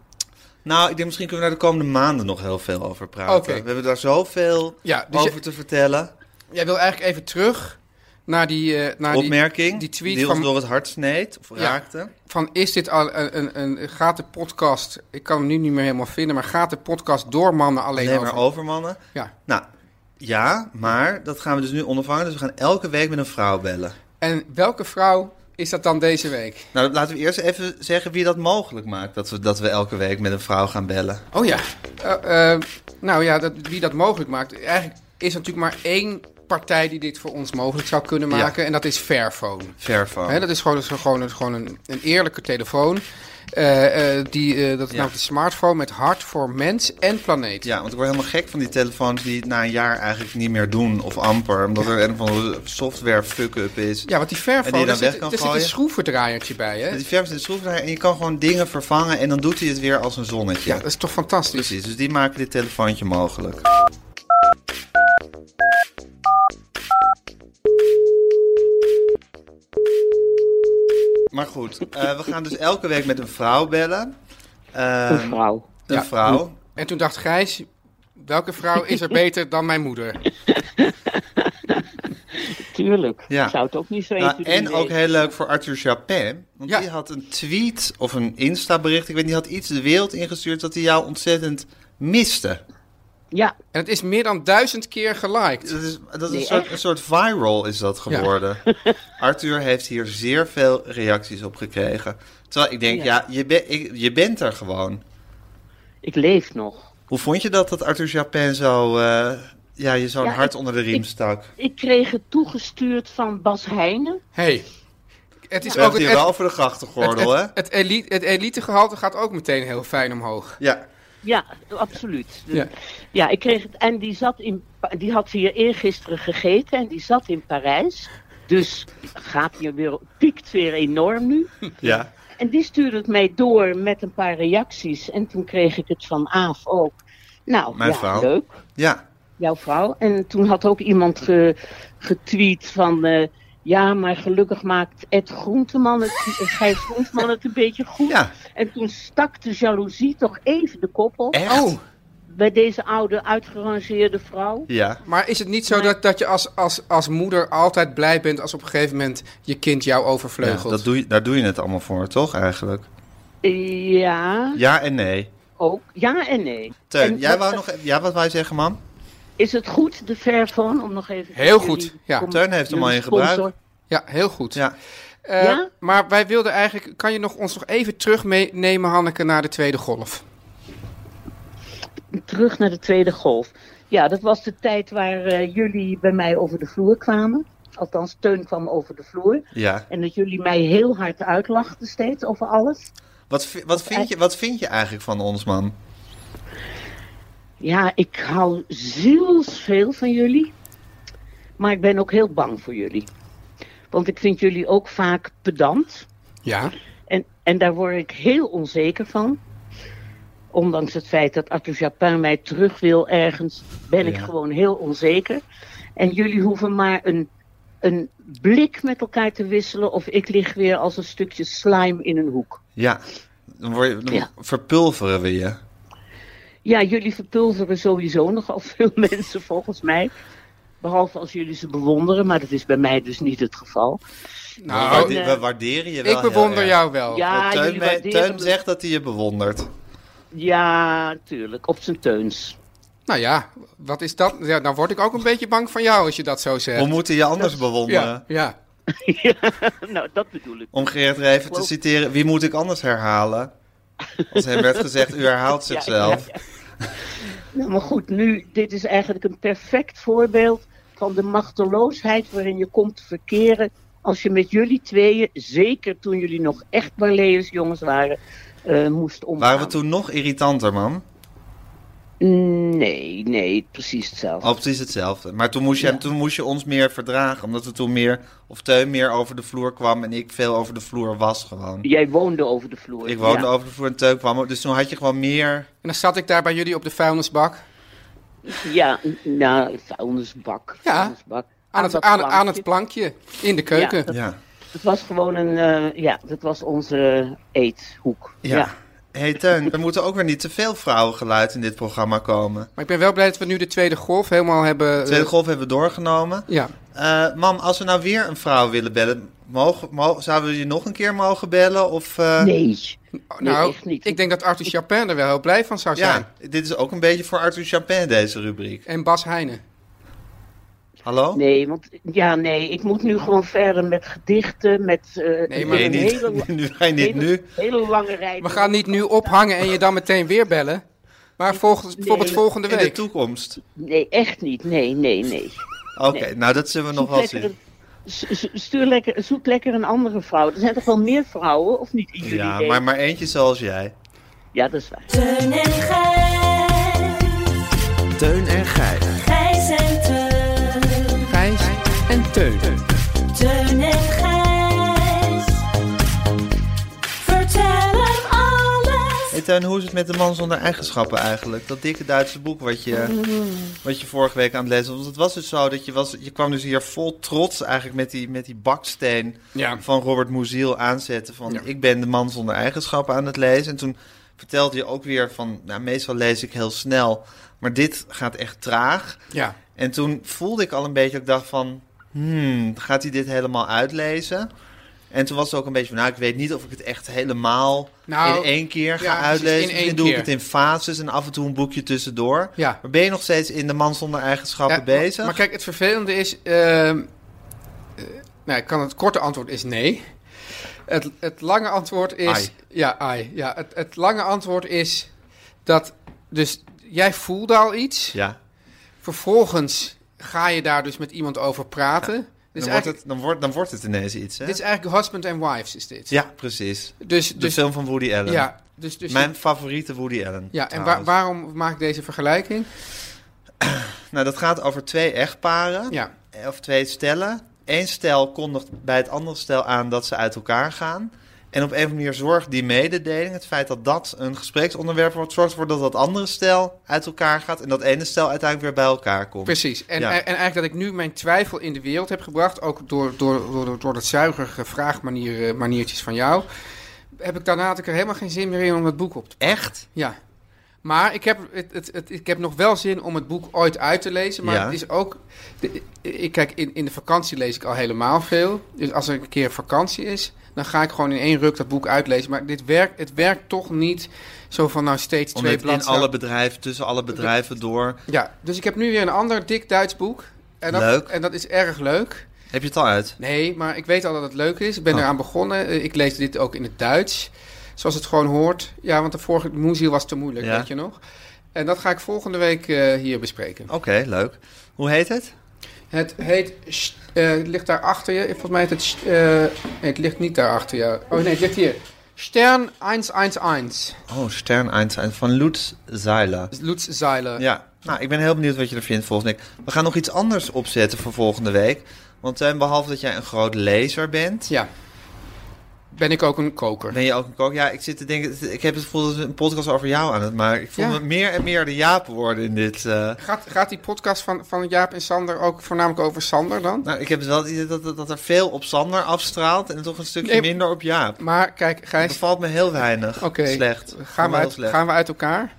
[SPEAKER 2] Nou, ik denk misschien kunnen we daar de komende maanden nog heel veel over praten.
[SPEAKER 1] Oké.
[SPEAKER 2] We hebben daar zoveel
[SPEAKER 1] Ja, dus
[SPEAKER 2] over
[SPEAKER 1] je-
[SPEAKER 2] te vertellen.
[SPEAKER 1] jij wil eigenlijk even terug naar die, eh, naar die,
[SPEAKER 2] Opmerking
[SPEAKER 1] die tweet
[SPEAKER 2] die
[SPEAKER 1] van-
[SPEAKER 2] ons door het hart sneed of
[SPEAKER 1] Ja.
[SPEAKER 2] raakte.
[SPEAKER 1] van is dit al een, een, een gaat de podcast, ik kan hem nu niet meer helemaal vinden, maar gaat de podcast door mannen alleen,
[SPEAKER 2] Alleen
[SPEAKER 1] over?
[SPEAKER 2] maar over mannen.
[SPEAKER 1] Ja.
[SPEAKER 2] Nou, ja, maar dat gaan we dus nu ondervangen. Dus we gaan elke week met een vrouw bellen.
[SPEAKER 1] En welke vrouw is dat dan deze week?
[SPEAKER 2] Nou, dat- laten we eerst even zeggen wie dat mogelijk maakt. Dat we, dat we elke week met een vrouw gaan bellen.
[SPEAKER 1] Oh ja. Eh, eh, nou ja, dat, wie dat mogelijk maakt. Eigenlijk is er natuurlijk maar één partij die dit voor ons mogelijk zou kunnen
[SPEAKER 2] Ja.
[SPEAKER 1] maken. En dat is Fairphone.
[SPEAKER 2] Vervo.
[SPEAKER 1] Hè, dat is gewoon, dat is gewoon, dat is gewoon een, een eerlijke telefoon. Eh, eh, die, eh, dat is
[SPEAKER 2] Ja.
[SPEAKER 1] namelijk een smartphone met hart voor mens en planeet.
[SPEAKER 2] Ja, want ik word helemaal gek van die telefoons die het na een jaar eigenlijk niet meer doen of amper. Omdat er een van de software fuck-up is.
[SPEAKER 1] Ja, want die
[SPEAKER 2] En die
[SPEAKER 1] Fairphone, daar
[SPEAKER 2] je dan
[SPEAKER 1] zit,
[SPEAKER 2] weg kan
[SPEAKER 1] daar zit een
[SPEAKER 2] gooien.
[SPEAKER 1] schroevendraaiertje bij. Hè?
[SPEAKER 2] Met die verf in de schroefdraaier en je kan gewoon dingen vervangen en dan doet hij het weer als een zonnetje.
[SPEAKER 1] Ja, dat is toch fantastisch.
[SPEAKER 2] precies. Dus die maken dit telefoontje mogelijk. Maar goed, eh, we gaan dus elke week met een vrouw bellen. Eh,
[SPEAKER 6] Een vrouw.
[SPEAKER 2] Een
[SPEAKER 1] Ja.
[SPEAKER 2] vrouw.
[SPEAKER 1] En toen dacht Gijs, welke vrouw is er beter dan mijn moeder?
[SPEAKER 6] Tuurlijk.
[SPEAKER 2] Ja.
[SPEAKER 6] Ik zou het ook niet zo
[SPEAKER 2] Nou,
[SPEAKER 6] even doen,
[SPEAKER 2] en
[SPEAKER 6] nee.
[SPEAKER 2] ook heel leuk voor Arthur Chapin. Want
[SPEAKER 1] Ja.
[SPEAKER 2] die had een tweet of een Insta-bericht. Ik weet niet, die had iets de wereld ingestuurd dat hij jou ontzettend miste.
[SPEAKER 6] Ja,
[SPEAKER 1] En het is meer dan duizend keer geliked.
[SPEAKER 2] Dat is, dat is
[SPEAKER 6] Nee,
[SPEAKER 2] een, soort,
[SPEAKER 6] echt?
[SPEAKER 2] een soort viral is dat geworden. Arthur heeft hier zeer veel reacties op gekregen. Terwijl ik denk, ja,
[SPEAKER 6] Ja.
[SPEAKER 2] je, ben- ik- je bent er gewoon.
[SPEAKER 6] ik leef nog.
[SPEAKER 2] Hoe vond je dat dat Arthur Chapin zo, eh, ja, je zo'n
[SPEAKER 6] Ja,
[SPEAKER 2] hart
[SPEAKER 6] ik-
[SPEAKER 2] onder de riem
[SPEAKER 6] ik-
[SPEAKER 2] stak?
[SPEAKER 6] Ik kreeg het toegestuurd van Bas Heijnen.
[SPEAKER 1] Hey, het is
[SPEAKER 2] We
[SPEAKER 1] ook
[SPEAKER 2] hebben
[SPEAKER 1] het,
[SPEAKER 2] het hier wel voor de grachtengordel, hè?
[SPEAKER 1] Het, het elite, het elitegehalte gaat ook meteen heel fijn omhoog.
[SPEAKER 2] Ja.
[SPEAKER 6] Ja, absoluut. De-
[SPEAKER 1] Ja.
[SPEAKER 6] ja. ik kreeg het. En die, zat in, Pa- die had hier eergisteren gegeten en die zat in Parijs. Dus gaat hier weer, piekt weer enorm nu.
[SPEAKER 2] Ja.
[SPEAKER 6] En die stuurde het mij door met een paar reacties. En toen kreeg ik het van Aaf ook. Nou,
[SPEAKER 2] Mijn
[SPEAKER 6] ja,
[SPEAKER 2] vrouw.
[SPEAKER 6] leuk.
[SPEAKER 2] Ja.
[SPEAKER 6] Jouw vrouw. En toen had ook iemand ge- getweet van... eh, ja, maar gelukkig maakt Ed Groenteman het, eh, Gijs Groenteman het een beetje goed.
[SPEAKER 2] Ja.
[SPEAKER 6] En toen stak de jaloezie toch even de koppel.
[SPEAKER 2] Echt?
[SPEAKER 1] Oh,
[SPEAKER 6] Bij deze oude, uitgerangeerde vrouw.
[SPEAKER 2] Ja.
[SPEAKER 1] maar is het niet zo dat, dat je als, als, als moeder altijd blij bent als op een gegeven moment je kind jou
[SPEAKER 2] ja
[SPEAKER 1] overvleugelt?
[SPEAKER 2] dat doe je, daar doe je het allemaal voor, toch eigenlijk?
[SPEAKER 6] Ja,
[SPEAKER 2] Ja en nee.
[SPEAKER 6] ook. Ja en nee.
[SPEAKER 2] Teun,
[SPEAKER 6] Hm? En
[SPEAKER 2] jij
[SPEAKER 6] wat-
[SPEAKER 2] wou nog... e- Ja, wat wou je zeggen, man?
[SPEAKER 6] Is het goed, de Fairphone, om nog even...
[SPEAKER 1] Heel goed, ja.
[SPEAKER 2] Teun heeft hem al in gebruik.
[SPEAKER 6] gebruikt.
[SPEAKER 1] Ja, heel goed.
[SPEAKER 2] Ja.
[SPEAKER 1] Eh,
[SPEAKER 6] Ja?
[SPEAKER 1] Maar wij wilden eigenlijk... Kan je nog, ons nog even terug meenemen, Hanneke, naar de tweede golf?
[SPEAKER 6] terug naar de tweede golf. Ja, dat was de tijd waar eh, jullie bij mij over de vloer kwamen. Althans, Teun kwam over de vloer.
[SPEAKER 2] Ja.
[SPEAKER 6] En dat jullie mij heel hard uitlachten steeds over alles.
[SPEAKER 2] Wat, vi-
[SPEAKER 6] Eh,
[SPEAKER 2] wat, vind je, wat vind je eigenlijk van ons, man?
[SPEAKER 6] Ja, ik hou zielsveel van jullie. Maar ik ben ook heel bang voor jullie. Want ik vind jullie ook vaak pedant.
[SPEAKER 1] Ja.
[SPEAKER 6] En, en daar word ik heel onzeker van. Ondanks het feit dat Arthur Japin mij terug wil ergens, ben ik
[SPEAKER 2] Ja.
[SPEAKER 6] gewoon heel onzeker. En jullie hoeven maar een, een blik met elkaar te wisselen, of ik lig weer als een stukje slime in een hoek.
[SPEAKER 2] Ja. Dan, word je, dan
[SPEAKER 6] Ja.
[SPEAKER 2] verpulveren we je.
[SPEAKER 6] Ja, jullie verpulveren sowieso nogal veel mensen volgens mij. Behalve als jullie ze bewonderen, maar dat is bij mij dus niet het geval.
[SPEAKER 2] we,
[SPEAKER 1] Nou,
[SPEAKER 2] waarde-
[SPEAKER 6] eh,
[SPEAKER 2] we waarderen je wel
[SPEAKER 1] ik
[SPEAKER 2] heel
[SPEAKER 1] bewonder
[SPEAKER 2] erg.
[SPEAKER 1] jou wel.
[SPEAKER 6] Ja,
[SPEAKER 2] Want Teun,
[SPEAKER 6] jullie
[SPEAKER 2] me-
[SPEAKER 6] waarderen
[SPEAKER 2] Teun
[SPEAKER 6] me-
[SPEAKER 2] zegt dat hij je bewondert.
[SPEAKER 6] Ja, tuurlijk, op zijn teuns.
[SPEAKER 1] Nou ja, wat is dat? Ja, dan word ik ook een beetje bang van jou als je dat zo
[SPEAKER 2] We
[SPEAKER 1] zegt.
[SPEAKER 2] moeten je anders bewonderen.
[SPEAKER 1] ja, ja.
[SPEAKER 6] ja, nou, dat bedoel ik.
[SPEAKER 2] Om Geert Reven te
[SPEAKER 6] Geloof-
[SPEAKER 2] citeren, wie moet ik anders herhalen? Als hem werd gezegd, u herhaalt
[SPEAKER 6] Ja,
[SPEAKER 2] zichzelf.
[SPEAKER 6] Nou, maar goed, nu, dit is eigenlijk een perfect voorbeeld van de machteloosheid waarin je komt te verkeren als je met jullie tweeën, zeker toen jullie nog echt Barleus jongens waren, eh, moest omgaan.
[SPEAKER 2] Waren we toen nog irritanter, man?
[SPEAKER 6] Nee, nee, precies hetzelfje.
[SPEAKER 2] Al Oh, precies hetzelfde. Maar toen moest, je, hem- toen moest je ons meer verdragen. Omdat we toen meer, of Teun meer over de vloer kwam en ik veel over de vloer was gewoon.
[SPEAKER 6] Jij woonde over de vloer.
[SPEAKER 2] Ik woonde
[SPEAKER 6] ja.
[SPEAKER 2] over de vloer en Teun kwam. ook. Dus toen had je gewoon meer...
[SPEAKER 1] En dan zat ik daar bij jullie op de vuilnisbak.
[SPEAKER 6] Ja, nou, vuilnisbak.
[SPEAKER 1] Ja,
[SPEAKER 6] vuilnisbak.
[SPEAKER 1] Aan het,
[SPEAKER 6] dat
[SPEAKER 1] aan, aan
[SPEAKER 6] plankje.
[SPEAKER 1] het plankje. In de keuken.
[SPEAKER 6] Ja.
[SPEAKER 2] Ja.
[SPEAKER 6] Het was gewoon een, eh, ja, dat was onze eethoek.
[SPEAKER 2] Ja. hey, Teun, er moeten ook weer niet te veel vrouwengeluid in dit programma komen.
[SPEAKER 1] Maar ik ben wel blij dat we nu de tweede golf helemaal hebben... eh,
[SPEAKER 2] De tweede golf hebben we doorgenomen.
[SPEAKER 1] Ja.
[SPEAKER 2] Eh, mam, als we nou weer een vrouw willen bellen, mogen, mo- zouden we je nog een keer mogen bellen? Of, eh,
[SPEAKER 6] Nee.
[SPEAKER 1] nou,
[SPEAKER 6] echt niet.
[SPEAKER 1] ik denk dat Arthur Chapin er wel heel blij van zou zijn.
[SPEAKER 2] Ja, dit is ook een beetje voor Arthur Chapin, deze rubriek.
[SPEAKER 1] En Bas Heijnen.
[SPEAKER 2] Hallo?
[SPEAKER 6] Nee, want ja, nee, ik moet nu gewoon verder met gedichten, met eh
[SPEAKER 1] Nee, maar-
[SPEAKER 2] Nee,
[SPEAKER 6] een
[SPEAKER 2] niet.
[SPEAKER 6] hele, la-
[SPEAKER 2] nu ga je niet
[SPEAKER 6] hele,
[SPEAKER 2] nu.
[SPEAKER 6] hele lange rij.
[SPEAKER 1] We gaan niet nu ophangen en je dan meteen weer bellen. Maar volgens, bijvoorbeeld volgende
[SPEAKER 2] In de
[SPEAKER 1] week.
[SPEAKER 2] toekomst.
[SPEAKER 6] Nee, echt niet. Nee, nee, nee.
[SPEAKER 2] Oké, nou dat zullen we nog
[SPEAKER 6] Zoek
[SPEAKER 2] wel
[SPEAKER 6] lekker,
[SPEAKER 2] zien.
[SPEAKER 6] een, s- s- stuur lekker, zoek lekker een andere vrouw. Er zijn toch wel meer vrouwen, of niet? In jullie
[SPEAKER 2] Ja,
[SPEAKER 6] leven?
[SPEAKER 2] maar, maar eentje zoals jij.
[SPEAKER 6] ja, dat is waar.
[SPEAKER 5] Teun en Gijs.
[SPEAKER 3] Teun en Gijs.
[SPEAKER 5] Gijs en Teun.
[SPEAKER 1] Gijs en Teun.
[SPEAKER 5] Teun en Gijs. Vertel hem alles.
[SPEAKER 2] Hey Teun, hoe is het met de man zonder eigenschappen eigenlijk? Dat dikke Duitse boek wat je, wat je vorige week aan het lezen was. Want het was dus zo dat je, was, je kwam dus hier vol trots eigenlijk met die, met die baksteen
[SPEAKER 1] Ja.
[SPEAKER 2] van Robert Muziel aanzetten. Van ik ben de man zonder eigenschappen aan het lezen. En toen vertelde je ook weer van, nou meestal lees ik heel snel. Maar dit gaat echt traag.
[SPEAKER 1] Ja.
[SPEAKER 2] En toen voelde ik al een beetje, ik dacht van, hmm, gaat hij dit helemaal uitlezen? En toen was het ook een beetje van, nou, ik weet niet of ik het echt helemaal
[SPEAKER 1] Nou,
[SPEAKER 2] in één keer ga
[SPEAKER 1] ja, precies,
[SPEAKER 2] uitlezen.
[SPEAKER 1] in één
[SPEAKER 2] Misschien doe ik
[SPEAKER 1] keer.
[SPEAKER 2] het in fases en af en toe een boekje tussendoor.
[SPEAKER 1] Ja.
[SPEAKER 2] Maar ben je nog steeds in de man zonder eigenschappen
[SPEAKER 1] Ja,
[SPEAKER 2] bezig?
[SPEAKER 1] Maar, maar kijk, het vervelende is. ehm, eh, nou, ik kan het korte antwoord is nee. Het, het lange antwoord is.
[SPEAKER 2] Ai.
[SPEAKER 1] Ja, ai. Ja, het, het lange antwoord is dat. Dus jij voelde al iets.
[SPEAKER 2] ja.
[SPEAKER 1] Vervolgens ga je daar dus met iemand over praten.
[SPEAKER 2] dan, wordt
[SPEAKER 1] eigenlijk-
[SPEAKER 2] het, dan, wordt, dan wordt het ineens iets, hè?
[SPEAKER 1] Dit is eigenlijk Husband and Wives, is dit.
[SPEAKER 2] Ja, precies.
[SPEAKER 1] Dus,
[SPEAKER 2] De
[SPEAKER 1] dus,
[SPEAKER 2] film van Woody Allen.
[SPEAKER 1] ja, dus, dus
[SPEAKER 2] Mijn favoriete Woody Allen.
[SPEAKER 1] ja, en waar-
[SPEAKER 2] trouwens.
[SPEAKER 1] waarom maak ik deze vergelijking?
[SPEAKER 2] Nou, dat gaat over twee echtparen.
[SPEAKER 1] Ja,
[SPEAKER 2] eh, Of twee stellen. Eén stel kondigt bij het andere stel aan dat ze uit elkaar gaan. En op een of andere manier zorgt die mededeling, het feit dat dat een gespreksonderwerp wordt, zorgt ervoor dat dat andere stel uit elkaar gaat en dat ene stel uiteindelijk weer bij elkaar komt.
[SPEAKER 1] precies. En,
[SPEAKER 2] Ja.
[SPEAKER 1] en eigenlijk dat ik nu mijn twijfel in de wereld heb gebracht, ook door, door, door, door dat zuigerige vraagmaniertjes maniertjes van jou, heb ik daarna had ik er helemaal geen zin meer in om dat boek op te
[SPEAKER 2] Echt?
[SPEAKER 1] Ja. Maar ik heb, het, het, het- ik heb nog wel zin om het boek ooit uit te lezen. Maar
[SPEAKER 2] Ja.
[SPEAKER 1] het is ook. de- ik, kijk, in, in de vakantie lees ik al helemaal veel. Dus als er een keer vakantie is, dan ga ik gewoon in één ruk dat boek uitlezen. Maar dit werkt, het werkt toch niet zo van nou steeds
[SPEAKER 2] Omdat
[SPEAKER 1] twee
[SPEAKER 2] het in
[SPEAKER 1] bladzijden.
[SPEAKER 2] alle bedrijven, tussen alle bedrijven door.
[SPEAKER 1] Ja, dus ik heb nu weer een ander dik Duits boek. En dat,
[SPEAKER 2] Leuk.
[SPEAKER 1] En dat is erg leuk.
[SPEAKER 2] Heb je het al uit?
[SPEAKER 1] Nee, maar ik weet al dat het leuk is. Ik ben
[SPEAKER 2] Oh.
[SPEAKER 1] eraan begonnen. Eh, Ik lees dit ook in het Duits. Zoals het gewoon hoort. Ja, want de vorige Moeziel was te moeilijk,
[SPEAKER 2] Ja.
[SPEAKER 1] weet je nog. En dat ga ik volgende week eh, hier bespreken.
[SPEAKER 2] Oké, leuk. Hoe heet het?
[SPEAKER 1] Het heet... St- eh, het ligt daar achter je. Volgens mij heet het... St- eh, nee, het ligt niet daar achter je. Oh nee, het ligt hier. Stern 111.
[SPEAKER 2] Oh, Stern 1 van Lutz Zeiler.
[SPEAKER 1] Lutz Zeiler.
[SPEAKER 2] Ja, nou, ik ben heel benieuwd wat je er vindt volgende week. We gaan nog iets anders opzetten voor volgende week. Want eh, behalve dat jij een groot lezer bent,
[SPEAKER 1] Ja. Ben ik ook een koker.
[SPEAKER 2] ben je ook een kook. Ja, ik zit te denken, ik heb het gevoel dat we een podcast over jou aan het maken. Ik voel
[SPEAKER 1] Ja.
[SPEAKER 2] me meer en meer de Jaap worden in dit. eh.
[SPEAKER 1] Gaat, gaat die podcast van, van Jaap en Sander ook voornamelijk over Sander dan?
[SPEAKER 2] Nou, ik heb het wel het idee dat, dat, dat er veel op Sander afstraalt en toch een stukje
[SPEAKER 1] Nee.
[SPEAKER 2] minder op Jaap.
[SPEAKER 1] Maar kijk,
[SPEAKER 2] Het
[SPEAKER 1] Gijs,
[SPEAKER 2] bevalt me heel weinig.
[SPEAKER 1] Oké.
[SPEAKER 2] Slecht.
[SPEAKER 1] gaan we,
[SPEAKER 2] Heel
[SPEAKER 1] uit,
[SPEAKER 2] slecht.
[SPEAKER 1] gaan we uit elkaar?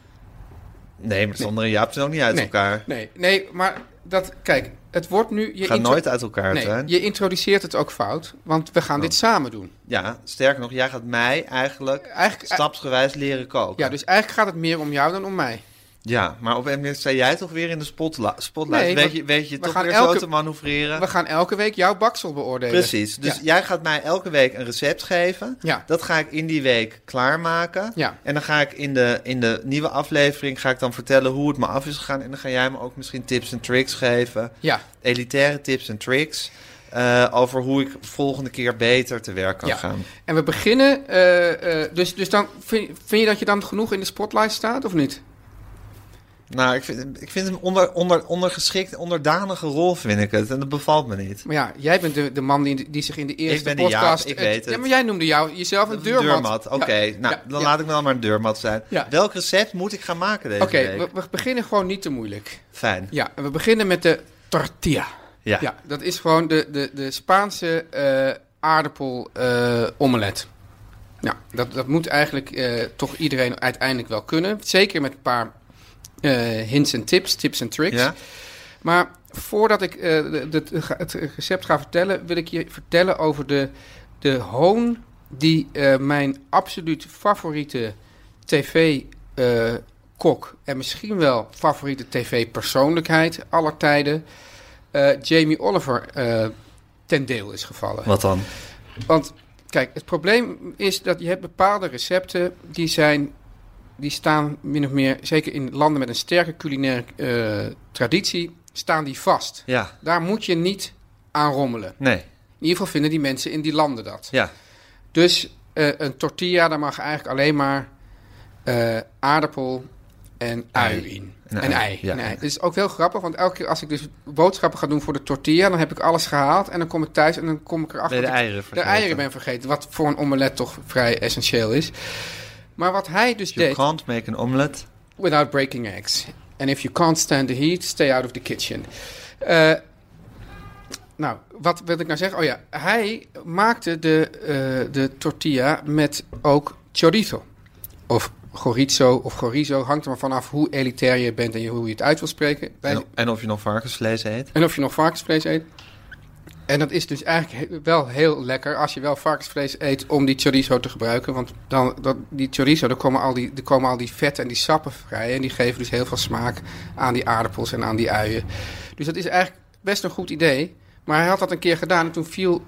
[SPEAKER 2] Nee, maar Sander en Jaap zijn ook niet uit
[SPEAKER 1] Nee.
[SPEAKER 2] elkaar.
[SPEAKER 1] Nee, nee, maar dat, kijk, het wordt nu. Je
[SPEAKER 2] Gaan
[SPEAKER 1] intro-
[SPEAKER 2] nooit uit Oh. elkaar
[SPEAKER 1] Nee,
[SPEAKER 2] zijn.
[SPEAKER 1] je introduceert het ook fout, want we gaan dit samen doen.
[SPEAKER 2] Ja, sterker nog, jij gaat mij eigenlijk
[SPEAKER 1] Eigenlijk,
[SPEAKER 2] stapsgewijs leren koken.
[SPEAKER 1] Eh, ja, dus eigenlijk gaat het meer om jou dan om mij.
[SPEAKER 2] Ja, maar op een moment sta jij toch weer in de spotla- spotlight.
[SPEAKER 1] Nee,
[SPEAKER 2] weet,
[SPEAKER 1] we-
[SPEAKER 2] je, weet je
[SPEAKER 1] we
[SPEAKER 2] toch
[SPEAKER 1] gaan
[SPEAKER 2] weer zo
[SPEAKER 1] elke-
[SPEAKER 2] te manoeuvreren.
[SPEAKER 1] We gaan elke week jouw baksel beoordelen.
[SPEAKER 2] Precies. Dus
[SPEAKER 1] Ja.
[SPEAKER 2] jij gaat mij elke week een recept geven.
[SPEAKER 1] Ja.
[SPEAKER 2] Dat ga ik in die week klaarmaken.
[SPEAKER 1] Ja.
[SPEAKER 2] En dan ga ik in de, in de nieuwe aflevering ga ik dan vertellen hoe het me af is gegaan. En dan ga jij me ook misschien tips en tricks geven.
[SPEAKER 1] Ja,
[SPEAKER 2] Elitaire tips en tricks. eh, over hoe ik volgende keer beter te werk kan
[SPEAKER 1] Ja.
[SPEAKER 2] gaan.
[SPEAKER 1] en we beginnen. eh, eh, dus, dus dan vind, vind je dat je dan genoeg in de spotlight staat of niet?
[SPEAKER 2] Nou, ik vind, ik vind hem onder, onder, ondergeschikt, onderdanige rol vind ik het. En dat bevalt me niet.
[SPEAKER 1] Maar ja, jij bent de, de man die, die zich in de eerste
[SPEAKER 2] ben de
[SPEAKER 1] podcast.
[SPEAKER 2] Jaap, ik weet het.
[SPEAKER 1] Ja, maar jij noemde jou, jezelf een
[SPEAKER 2] Een
[SPEAKER 1] deurmat.
[SPEAKER 2] Oké,
[SPEAKER 1] Ja,
[SPEAKER 2] nou,
[SPEAKER 1] ja,
[SPEAKER 2] dan
[SPEAKER 1] ja.
[SPEAKER 2] laat ik me dan maar een deurmat zijn.
[SPEAKER 1] Ja.
[SPEAKER 2] Welk recept moet ik gaan maken deze
[SPEAKER 1] Oké,
[SPEAKER 2] week?
[SPEAKER 1] we, we beginnen gewoon niet te moeilijk.
[SPEAKER 2] Fijn.
[SPEAKER 1] Ja, en we beginnen met de tortilla.
[SPEAKER 2] Ja.
[SPEAKER 1] Ja, dat is gewoon de, de, de Spaanse eh, aardappel-omelet. ja, dat, dat moet eigenlijk eh, toch iedereen uiteindelijk wel kunnen. Zeker met een paar eh, hints en tips, tips en tricks.
[SPEAKER 2] Ja?
[SPEAKER 1] Maar voordat ik eh, de- de- het recept ga vertellen, wil ik je vertellen over de, de hoon die eh, mijn absoluut favoriete tv-kok en misschien wel favoriete tv-persoonlijkheid aller tijden, eh, Jamie Oliver, eh, ten deel is gevallen.
[SPEAKER 2] Wat dan?
[SPEAKER 1] Want kijk, het probleem is dat je hebt bepaalde recepten die zijn, die staan min of meer, zeker in landen met een sterke culinaire eh, traditie, staan die vast.
[SPEAKER 2] Ja.
[SPEAKER 1] Daar moet je niet aan rommelen.
[SPEAKER 2] Nee.
[SPEAKER 1] In ieder geval vinden die mensen in die landen dat.
[SPEAKER 2] Ja.
[SPEAKER 1] Dus eh, een tortilla, daar mag eigenlijk alleen maar eh, aardappel en ui in.
[SPEAKER 2] Een
[SPEAKER 1] en
[SPEAKER 2] ei,
[SPEAKER 1] ei.
[SPEAKER 2] ja.
[SPEAKER 1] en ei. Dat is ook heel grappig, want elke keer als ik dus boodschappen ga doen voor de tortilla, dan heb ik alles gehaald en dan kom ik thuis en dan kom ik erachter
[SPEAKER 2] Ben je de
[SPEAKER 1] dat ik
[SPEAKER 2] eieren
[SPEAKER 1] de
[SPEAKER 2] vergeten?
[SPEAKER 1] eieren ben vergeten. Wat voor een omelet toch vrij essentieel is. Maar wat hij dus
[SPEAKER 2] You
[SPEAKER 1] deed,
[SPEAKER 2] can't make an omelet.
[SPEAKER 1] without breaking eggs. And if you can't stand the heat, stay out of the kitchen. Eh, nou, wat wil ik nou zeggen? Oh ja, hij maakte de, eh, de tortilla met ook chorizo. Of chorizo of chorizo. Hangt er maar vanaf hoe elitair je bent en je- hoe je het uit wil spreken. Wij-
[SPEAKER 2] En, en of je nog varkensvlees eet.
[SPEAKER 1] en of je nog varkensvlees eet. En dat is dus eigenlijk he- wel heel lekker als je wel varkensvlees eet om die chorizo te gebruiken. Want dan, dat, die chorizo, daar komen, al die, daar komen al die vetten en die sappen vrij. En die geven dus heel veel smaak aan die aardappels en aan die uien. Dus dat is eigenlijk best een goed idee. Maar hij had dat een keer gedaan en toen viel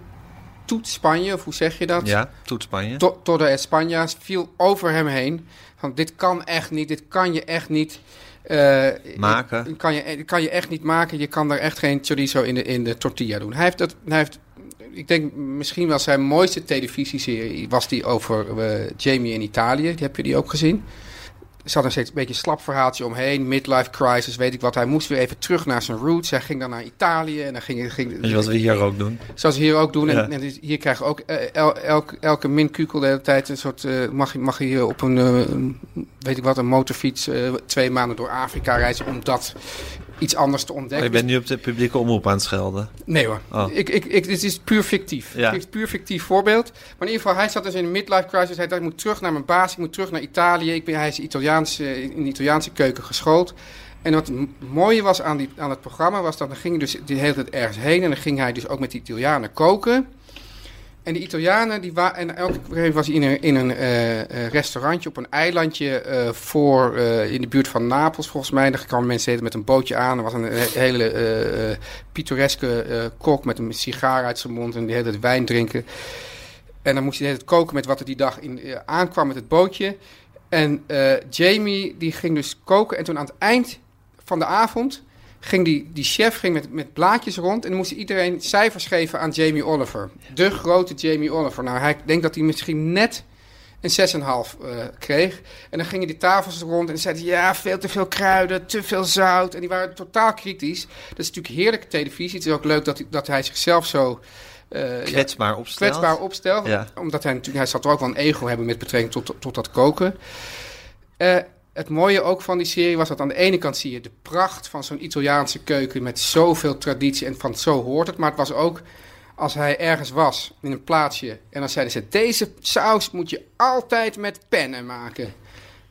[SPEAKER 1] Toet Spanje, of hoe zeg je dat?
[SPEAKER 2] Ja, toet Spanje.
[SPEAKER 1] To- Todo España viel over hem heen. Van dit kan echt niet, dit kan je echt niet. eh,
[SPEAKER 2] Maken.
[SPEAKER 1] kan je, kan je echt niet maken. Je kan er echt geen chorizo in de, in de tortilla doen. Hij heeft, dat, hij heeft, ik denk misschien wel zijn mooiste televisieserie was die over eh, Jamie in Italië. Die heb je die ook gezien? Er zat nog steeds een beetje een slap verhaaltje omheen. Midlife crisis, weet ik wat. Hij moest weer even terug naar zijn roots. Hij ging dan naar Italië en dan ging... ging
[SPEAKER 2] Weet je wat we hier ook doen?
[SPEAKER 1] Zoals we hier ook doen. En,
[SPEAKER 2] Ja.
[SPEAKER 1] en dus hier krijgen we ook eh, el- elk, elke minkukel de hele tijd een soort. eh, mag, je- mag je hier op een, eh, een, weet ik wat, een motorfiets eh, twee maanden door Afrika reizen om dat iets anders te
[SPEAKER 2] Oh,
[SPEAKER 1] ontdekken.
[SPEAKER 2] je bent nu op de publieke omroep aan het schelden.
[SPEAKER 1] Nee hoor.
[SPEAKER 2] Oh.
[SPEAKER 1] Ik, ik, ik, dit is puur fictief.
[SPEAKER 2] Ja.
[SPEAKER 1] Dit is puur fictief voorbeeld. Maar in ieder geval, hij zat dus in een midlife crisis. Hij dacht, ik moet terug naar mijn baas. Ik moet terug naar Italië. Ik ben, hij is Italiaanse, in de Italiaanse keuken geschoold. En wat het m- mooie was aan, die, aan het programma... was dat dan ging hij dus de hele tijd ergens heen... en dan ging hij dus ook met die Italianen koken... En de Italianen, die wa- en elke keer was hij in een, in een eh, eh, restaurantje op een eilandje eh, voor, eh, in de buurt van Napels, volgens mij. Daar kwamen mensen eten met een bootje aan. Er was een he- hele eh, eh, pittoreske eh, kok met een sigaar uit zijn mond en die hele tijd wijn drinken. En dan moest hij de hele tijd koken met wat er die dag in, eh, aankwam met het bootje. En eh, Jamie, die ging dus koken. En toen aan het eind van de avond ging die, die chef ging met, met blaadjes rond en dan moest iedereen cijfers geven aan Jamie Oliver. De grote Jamie Oliver. Nou, hij ik denk dat hij misschien net een 6,5 eh kreeg. En dan gingen die tafels rond en zeiden ja, veel te veel kruiden, te veel zout. En die waren totaal kritisch. Dat is natuurlijk heerlijke televisie. Het is ook leuk dat, hij- dat hij zichzelf zo... eh, ja,
[SPEAKER 2] Kwetsbaar opstelt.
[SPEAKER 1] kwetsbaar opstel.
[SPEAKER 2] Ja.
[SPEAKER 1] Omdat hij natuurlijk, hij zal toch ook wel een ego hebben met betrekking tot, tot dat koken. Eh, het mooie ook van die serie was dat aan de ene kant zie je de pracht van zo'n Italiaanse keuken met zoveel traditie en van zo hoort het. Maar het was ook als hij ergens was in een plaatsje en dan zeiden ze deze saus moet je altijd met pennen maken.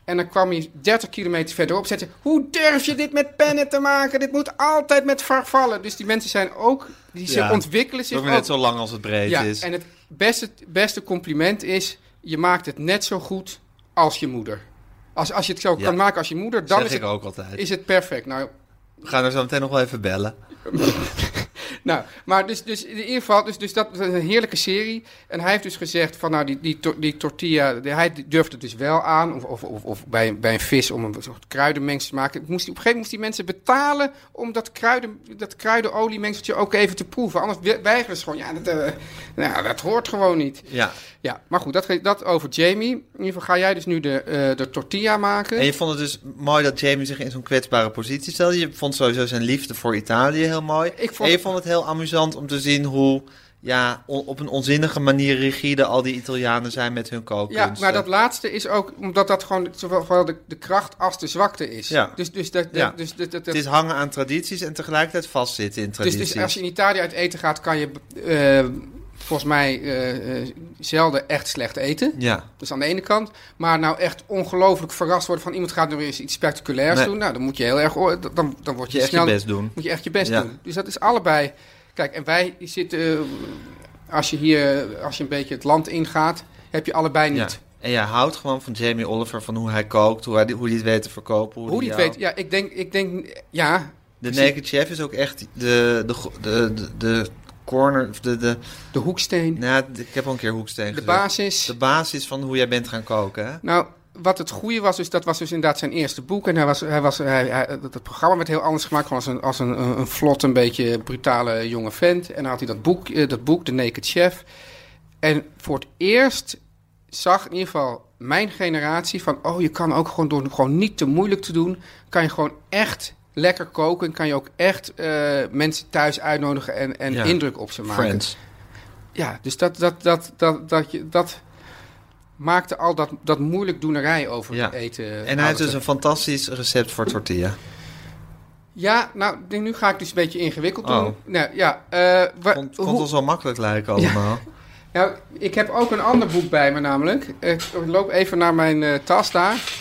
[SPEAKER 1] En dan kwam hij 30 kilometer verderop zetten. Hoe durf je dit met pennen te maken? Dit moet altijd met vervallen. Dus die mensen zijn ook, die ze
[SPEAKER 2] Ja.
[SPEAKER 1] ontwikkelen zich
[SPEAKER 2] Ook
[SPEAKER 1] ook.
[SPEAKER 2] maar net zo lang als het breed
[SPEAKER 1] Ja,
[SPEAKER 2] is.
[SPEAKER 1] en het beste, beste compliment is: je maakt het net zo goed als je moeder. Als, als je het zo
[SPEAKER 2] Ja.
[SPEAKER 1] kan maken als je moeder,
[SPEAKER 2] Dat
[SPEAKER 1] dan
[SPEAKER 2] zeg
[SPEAKER 1] is
[SPEAKER 2] ik
[SPEAKER 1] het,
[SPEAKER 2] ook altijd.
[SPEAKER 1] is het perfect. Nou,
[SPEAKER 2] We gaan er zo meteen nog wel even bellen.
[SPEAKER 1] nou maar dus, dus in ieder geval, dus, dus dat is een heerlijke serie. En hij heeft dus gezegd: van nou, die, die, tor- die tortilla, die- hij durft het dus wel aan. Of, of, of, of bij, bij een vis om een soort kruidenmengsel te maken. Moest hij- op een gegeven moment moest die mensen betalen om dat, kruiden, dat kruidenoliemengseltje ook even te proeven. Anders we- weigeren ze gewoon: ja, dat, eh, nou, dat hoort gewoon niet.
[SPEAKER 2] Ja.
[SPEAKER 1] Ja, maar goed, dat, ge- dat over Jamie. In ieder geval ga jij dus nu de, eh, de tortilla maken.
[SPEAKER 2] En je vond het dus mooi dat Jamie zich in zo'n kwetsbare positie stelde. Je vond sowieso zijn liefde voor Italië heel mooi.
[SPEAKER 1] Ik vond-
[SPEAKER 2] En je vond het heel amusant om te zien hoe ja, on- op een onzinnige manier rigide al die Italianen zijn met hun kookkunsten.
[SPEAKER 1] ja, maar dat laatste is ook omdat dat gewoon zowel de, de kracht als de zwakte is.
[SPEAKER 2] Ja.
[SPEAKER 1] Dus, dus, dat,
[SPEAKER 2] Ja.
[SPEAKER 1] dus, dat, dat,
[SPEAKER 2] Het is hangen aan tradities en tegelijkertijd vastzitten in
[SPEAKER 1] dus,
[SPEAKER 2] tradities.
[SPEAKER 1] dus als je in Italië uit eten gaat, kan je eh, volgens mij eh, eh, zelden echt slecht eten.
[SPEAKER 2] Ja,
[SPEAKER 1] Dus aan de ene kant. Maar nou echt ongelooflijk verrast worden van iemand gaat nu eens iets spectaculairs
[SPEAKER 2] Nee.
[SPEAKER 1] doen. Nou, dan moet je heel erg. o- Dan, dan word
[SPEAKER 2] moet
[SPEAKER 1] je,
[SPEAKER 2] je echt
[SPEAKER 1] snel
[SPEAKER 2] je best doen.
[SPEAKER 1] Moet je echt je best
[SPEAKER 2] Ja.
[SPEAKER 1] doen. Dus dat is allebei. Kijk, en wij zitten. eh, Als je hier. Als je een beetje het land ingaat. heb je allebei
[SPEAKER 2] Ja.
[SPEAKER 1] niet.
[SPEAKER 2] En jij houdt gewoon van Jamie Oliver, van hoe hij kookt, hoe hij, die- hoe hij het weet te verkopen. Hoe,
[SPEAKER 1] Hoe
[SPEAKER 2] die
[SPEAKER 1] die het
[SPEAKER 2] jou-
[SPEAKER 1] weet. Ja, ik denk. Ik denk ja.
[SPEAKER 2] De Naked Chef is ook echt de, de, go- de, de, de corner, of de, de,
[SPEAKER 1] De hoeksteen.
[SPEAKER 2] nou, ik heb al een keer hoeksteen
[SPEAKER 1] de
[SPEAKER 2] gezegd.
[SPEAKER 1] basis.
[SPEAKER 2] De basis van hoe jij bent gaan koken, hè?
[SPEAKER 1] Nou, wat het goede was, dus dat was dus inderdaad zijn eerste boek. En hij was, hij was, hij, hij- dat dat programma werd heel anders gemaakt. Gewoon als een, als een, een, een vlot, een beetje brutale jonge vent. En dan had hij dat boek, eh, dat boek, The Naked Chef. En voor het eerst zag in ieder geval mijn generatie van... oh, je kan ook gewoon door het gewoon niet te moeilijk te doen... kan je gewoon echt lekker koken. En kan je ook echt eh, mensen thuis uitnodigen en, en
[SPEAKER 2] Ja.
[SPEAKER 1] indruk op ze maken.
[SPEAKER 2] Friends.
[SPEAKER 1] Ja, dus dat, dat, dat, dat, dat, je, dat maakte al dat, dat moeilijk doenerij over
[SPEAKER 2] Ja.
[SPEAKER 1] eten.
[SPEAKER 2] En hij heeft dus een fantastisch recept voor tortilla.
[SPEAKER 1] Eh, Ja, nou, nu- nu ga ik dus een beetje ingewikkeld doen.
[SPEAKER 2] Oh.
[SPEAKER 1] Nou, ja, eh, wa-
[SPEAKER 2] Vond, vond
[SPEAKER 1] hoe-
[SPEAKER 2] ons wel makkelijk lijken allemaal.
[SPEAKER 1] nou, ik heb ook een ander boek bij me namelijk. Eh, Ik loop even naar mijn eh, tas daar.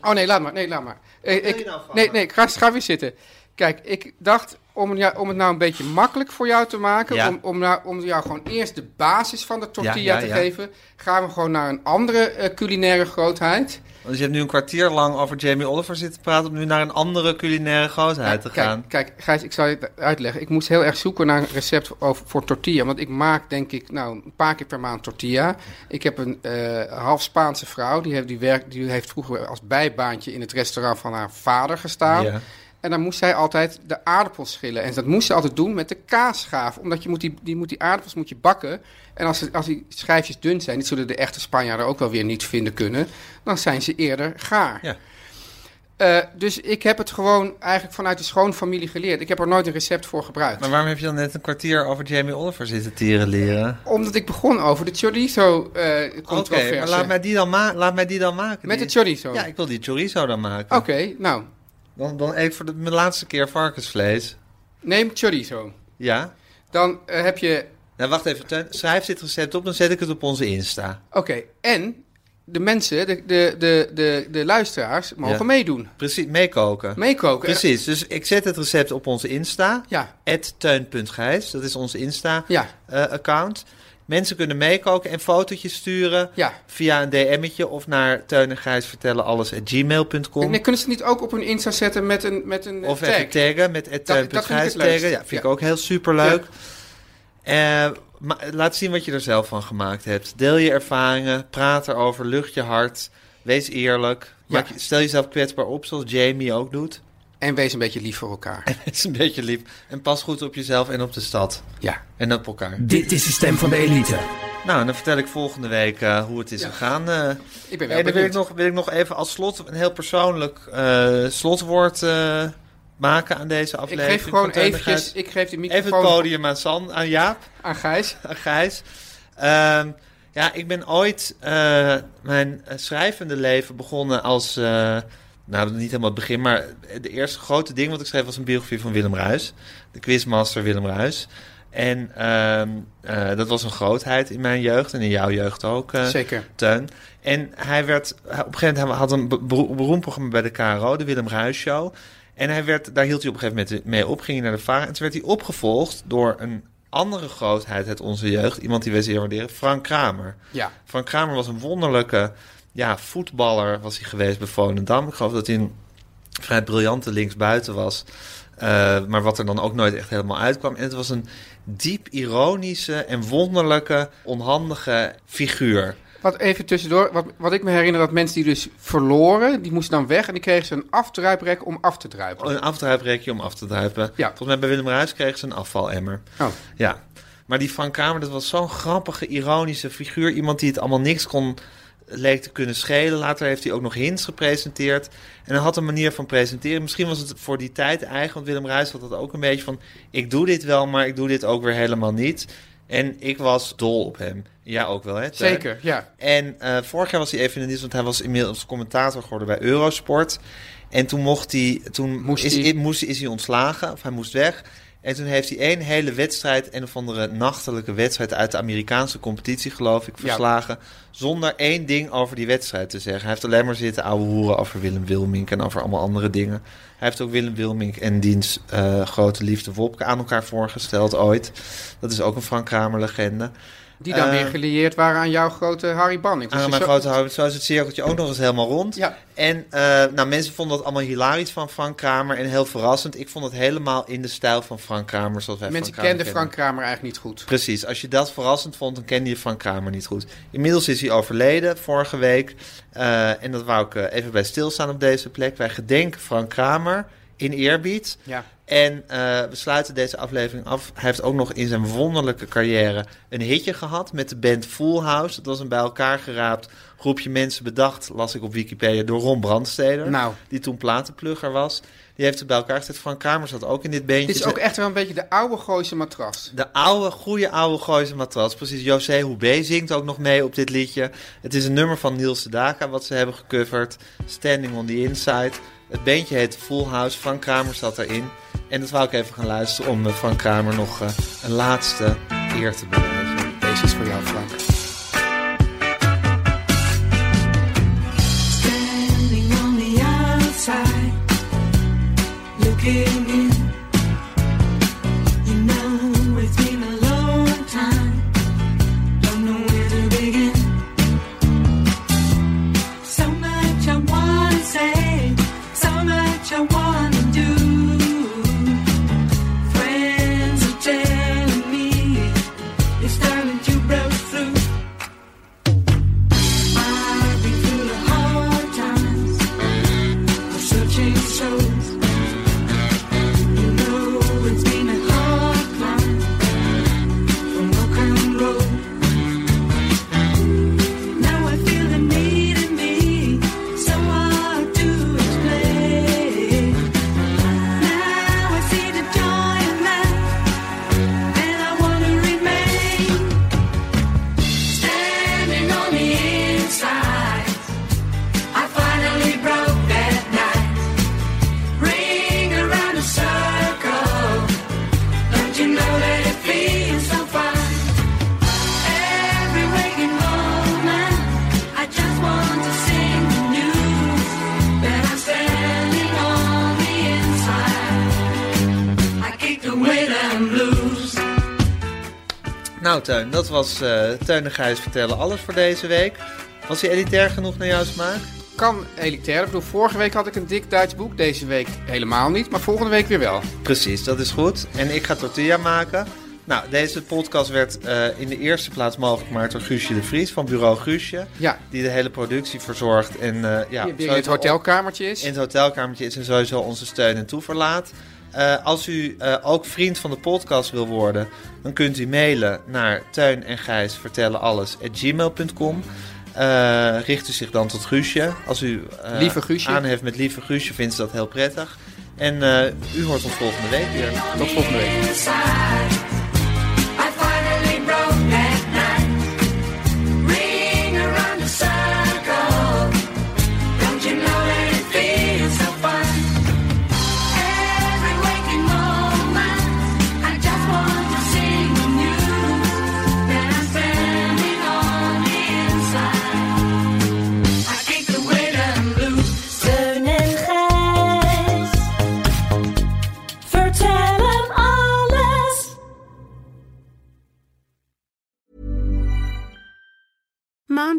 [SPEAKER 1] Oh nee, laat maar. Nee, laat maar. Eh, ik,
[SPEAKER 2] nou van
[SPEAKER 1] nee,
[SPEAKER 2] me?
[SPEAKER 1] nee, ga, ga weer zitten. Kijk, ik dacht, om, jou- om het nou een beetje makkelijk voor jou te maken,
[SPEAKER 2] Ja.
[SPEAKER 1] om, om, nou, om jou gewoon eerst de basis van de tortilla
[SPEAKER 2] Ja, ja, ja.
[SPEAKER 1] te geven, gaan we gewoon naar een andere eh, culinaire grootheid.
[SPEAKER 2] Dus je hebt nu een kwartier lang over Jamie Oliver zitten praten... om nu naar een andere culinaire grootheid te
[SPEAKER 1] kijk,
[SPEAKER 2] gaan.
[SPEAKER 1] Kijk, Gijs, ik zal je uitleggen. Ik moest heel erg zoeken naar een recept over, voor tortilla. Want ik maak, denk ik, nou, een paar keer per maand tortilla. Ik heb een eh, half Spaanse vrouw. Die heeft, die, werkt, die heeft vroeger als bijbaantje in het restaurant van haar vader gestaan.
[SPEAKER 2] Ja.
[SPEAKER 1] En dan moest zij altijd de aardappels schillen. En dat moest ze altijd doen met de kaasschaaf. Omdat je moet die, die, moet die aardappels moet je bakken. En als, ze- als die schijfjes dun zijn, dit zullen de echte Spanjaarden ook wel weer niet vinden kunnen. Dan zijn ze eerder gaar.
[SPEAKER 2] Ja.
[SPEAKER 1] Eh, dus ik heb het gewoon eigenlijk vanuit de schoonfamilie geleerd. Ik heb er nooit een recept voor gebruikt.
[SPEAKER 2] Maar waarom heb je dan net een kwartier over Jamie Oliver zitten tieren leren?
[SPEAKER 1] Omdat ik begon over de
[SPEAKER 2] Oké,
[SPEAKER 1] chorizo-controverse.
[SPEAKER 2] maar laat mij, die dan ma- laat mij die dan maken.
[SPEAKER 1] Met
[SPEAKER 2] Die-
[SPEAKER 1] de chorizo.
[SPEAKER 2] Ja, ik wil die chorizo dan maken.
[SPEAKER 1] Oké, nou,
[SPEAKER 2] Dan, dan eet ik voor de mijn laatste keer varkensvlees.
[SPEAKER 1] neem chorizo.
[SPEAKER 2] Ja?
[SPEAKER 1] Dan eh, heb je
[SPEAKER 2] Nou, wacht even. Teun. Schrijf dit recept op, dan zet ik het op onze Insta.
[SPEAKER 1] Oké, en de mensen, de, de, de, de, de luisteraars, mogen
[SPEAKER 2] Ja.
[SPEAKER 1] meedoen.
[SPEAKER 2] Precies, meekoken.
[SPEAKER 1] Meekoken.
[SPEAKER 2] Precies, dus ik zet het recept op onze Insta.
[SPEAKER 1] Ja.
[SPEAKER 2] Teun.gijs, dat is onze
[SPEAKER 1] Ja.
[SPEAKER 2] Insta-account. Mensen kunnen meekoken en fotootjes sturen
[SPEAKER 1] Ja.
[SPEAKER 2] via een DM'tje of naar Teun en Gijs vertellen alles at gmail.com.
[SPEAKER 1] En dan kunnen ze het niet ook op hun Insta zetten met een, met een eh,
[SPEAKER 2] Of
[SPEAKER 1] tag?
[SPEAKER 2] even taggen met
[SPEAKER 1] Dat-
[SPEAKER 2] het
[SPEAKER 1] dat vind ik
[SPEAKER 2] Teun.gijs
[SPEAKER 1] het leukst.
[SPEAKER 2] taggen. Ja, vind ik
[SPEAKER 1] Ja.
[SPEAKER 2] ook heel superleuk. Eh, ma- laat zien wat je er zelf van gemaakt hebt. Deel je ervaringen, praat erover, lucht je hart, wees eerlijk. Maak je- stel jezelf kwetsbaar op, zoals Jamie ook doet.
[SPEAKER 1] En wees een beetje lief voor elkaar.
[SPEAKER 2] Het is een beetje lief. En pas goed op jezelf en op de stad.
[SPEAKER 1] ja.
[SPEAKER 2] En op elkaar.
[SPEAKER 4] Dit is de stem van de elite.
[SPEAKER 2] Nou, en dan vertel ik volgende week eh, hoe het is gegaan. eh.
[SPEAKER 1] Ik ben wel
[SPEAKER 2] en dan wil ik,
[SPEAKER 1] benieuwd.
[SPEAKER 2] nog, wil ik nog even als slot een heel persoonlijk eh, slotwoord eh, maken aan deze
[SPEAKER 1] Ik
[SPEAKER 2] aflevering.
[SPEAKER 1] geef gewoon
[SPEAKER 2] van Teun en
[SPEAKER 1] eventjes,
[SPEAKER 2] Gijs.
[SPEAKER 1] ik geef de
[SPEAKER 2] Even
[SPEAKER 1] microfoon
[SPEAKER 2] het podium aan, San, aan Jaap,
[SPEAKER 1] aan Gijs.
[SPEAKER 2] aan Gijs. Ehm, ja, ik ben ooit eh, mijn eh, schrijvende leven begonnen als... eh, nou, niet helemaal het begin, maar de eerste grote ding wat ik schreef was een biografie van Willem Ruis. De quizmaster Willem Ruis. En ehm, eh, dat was een grootheid in mijn jeugd en in jouw jeugd ook. eh,
[SPEAKER 1] Zeker.
[SPEAKER 2] Teun. En hij werd, op een gegeven moment had een bero- beroemd programma bij de KRO, de Willem Ruijs Show. En hij werd, daar hield hij op een gegeven moment mee op, ging hij naar de VARA. En toen werd hij opgevolgd door een andere grootheid uit onze jeugd, iemand die wij zeer waarderen, Frank Kramer.
[SPEAKER 1] Ja.
[SPEAKER 2] Frank Kramer was een wonderlijke ja, voetballer was hij geweest bij Volendam. Ik geloof dat hij een vrij briljante linksbuiten was. eh, maar wat er dan ook nooit echt helemaal uitkwam. En het was een diep ironische en wonderlijke, onhandige figuur.
[SPEAKER 1] Wat even tussendoor, wat, wat ik me herinner, dat mensen die dus verloren, die moesten dan weg en die kregen ze een afdruiprek om af te druipen.
[SPEAKER 2] Een afdruiprekje om af te druipen.
[SPEAKER 1] Ja.
[SPEAKER 2] Volgens mij bij Willem Ruijs kregen ze een afvalemmer.
[SPEAKER 1] Oh.
[SPEAKER 2] Ja. Maar die Frank Kramer, dat was zo'n grappige, ironische figuur. Iemand die het allemaal niks kon, leek te kunnen schelen. Later heeft hij ook nog hints gepresenteerd. En hij had een manier van presenteren. Misschien was het voor die tijd eigen, want Willem Ruijs had dat ook een beetje van... ik doe dit wel, maar ik doe dit ook weer helemaal niet. En ik was dol op hem. Ja, ook wel, hè? Teun?
[SPEAKER 1] Zeker, ja.
[SPEAKER 2] En eh, vorig jaar was hij even in de nieuws, want hij was inmiddels commentator geworden bij Eurosport. En toen mocht hij, toen
[SPEAKER 1] Moest
[SPEAKER 2] is,
[SPEAKER 1] hij.
[SPEAKER 2] i- moest, is hij ontslagen, of hij moest weg. En toen heeft hij één hele wedstrijd, een of andere nachtelijke wedstrijd uit de Amerikaanse competitie, geloof ik,
[SPEAKER 1] Ja.
[SPEAKER 2] verslagen. Zonder één ding over die wedstrijd te zeggen. Hij heeft alleen maar zitten ouwe hoeren over Willem Wilmink en over allemaal andere dingen. Hij heeft ook Willem Wilmink en diens eh, grote liefde Wopke aan elkaar voorgesteld ooit. Dat is ook een Frank Kramer legende.
[SPEAKER 1] Die dan
[SPEAKER 2] Eh,
[SPEAKER 1] weer gelieerd waren aan jouw grote Harry Banning. Dus
[SPEAKER 2] Aan
[SPEAKER 1] je
[SPEAKER 2] Ah, mijn
[SPEAKER 1] zo-
[SPEAKER 2] grote houden, zo is het cirkeltje ook nog eens helemaal rond.
[SPEAKER 1] Ja.
[SPEAKER 2] En eh, nou, mensen vonden dat allemaal hilarisch van Frank Kramer en heel verrassend. Ik vond het helemaal in de stijl van Frank Kramer, zoals wij
[SPEAKER 1] Mensen
[SPEAKER 2] Frank Kramer
[SPEAKER 1] kenden
[SPEAKER 2] kennen.
[SPEAKER 1] Frank Kramer eigenlijk niet goed.
[SPEAKER 2] Precies, als je dat verrassend vond, dan kende je Frank Kramer niet goed. Inmiddels is hij overleden, vorige week. Eh, en dat wou ik eh, even bij stilstaan op deze plek. Wij gedenken Frank Kramer in eerbied.
[SPEAKER 1] Ja.
[SPEAKER 2] En eh, we sluiten deze aflevering af. Hij heeft ook nog in zijn wonderlijke carrière een hitje gehad met de band Full House. Dat was een bij elkaar geraapt groepje mensen bedacht, las ik op Wikipedia, door Ron Brandsteder.
[SPEAKER 1] Nou.
[SPEAKER 2] Die toen platenplugger was. Die heeft het bij elkaar gezet. Frank Kamers zat ook in dit bandje.
[SPEAKER 1] Dit is ook echt wel een beetje de oude gooise matras.
[SPEAKER 2] De oude, goede oude Gooise matras. Precies, José Houbé zingt ook nog mee op dit liedje. Het is een nummer van Niels Sedaka wat ze hebben gecoverd. Standing on the Inside. Het bandje heet Full House. Frank Kramer zat erin. En dat wou ik even gaan luisteren om eh, Frank Kramer nog eh, een laatste eer te bewijzen.
[SPEAKER 1] Deze is voor jou, Frank.
[SPEAKER 7] Standing on the outside, looking in.
[SPEAKER 2] Nou Teun, dat was eh Teun en Gijs vertellen alles voor deze week. Was hij elitair genoeg naar jouw smaak?
[SPEAKER 1] Kan elitair. Ik bedoel, vorige week had ik een dik Duits boek. Deze week helemaal niet. Maar volgende week weer wel.
[SPEAKER 2] Precies, dat is goed. En ik ga tortilla maken. Nou, deze podcast werd eh, in de eerste plaats mogelijk gemaakt door Guusje de Vries van Bureau Guusje.
[SPEAKER 1] Ja.
[SPEAKER 2] Die de hele productie verzorgt. En, eh,
[SPEAKER 1] Hier weer
[SPEAKER 2] ja,
[SPEAKER 1] in het
[SPEAKER 2] sowieso-
[SPEAKER 1] hotelkamertje is.
[SPEAKER 2] In het hotelkamertje is en sowieso onze steun en toeverlaat. Eh, als u eh, ook vriend van de podcast wil worden, dan kunt u mailen naar Teun en Gijs vertellen alles gmail.com. Eh, richt u zich dan tot Guusje. Als u eh,
[SPEAKER 1] Lieve Guusje.
[SPEAKER 2] aan heeft met lieve Guusje, vindt ze dat heel prettig. En eh, u hoort ons volgende week weer.
[SPEAKER 1] Tot volgende week.
[SPEAKER 7] inside. I finally broke that night. Ring around the circle. Don't you know that it feels so fine? Every waking moment, I just want to sing with you that I'm standing on the inside. I hate the way that I'm blue.
[SPEAKER 5] Teun en Gijs. Vertel hem alles.
[SPEAKER 8] Mom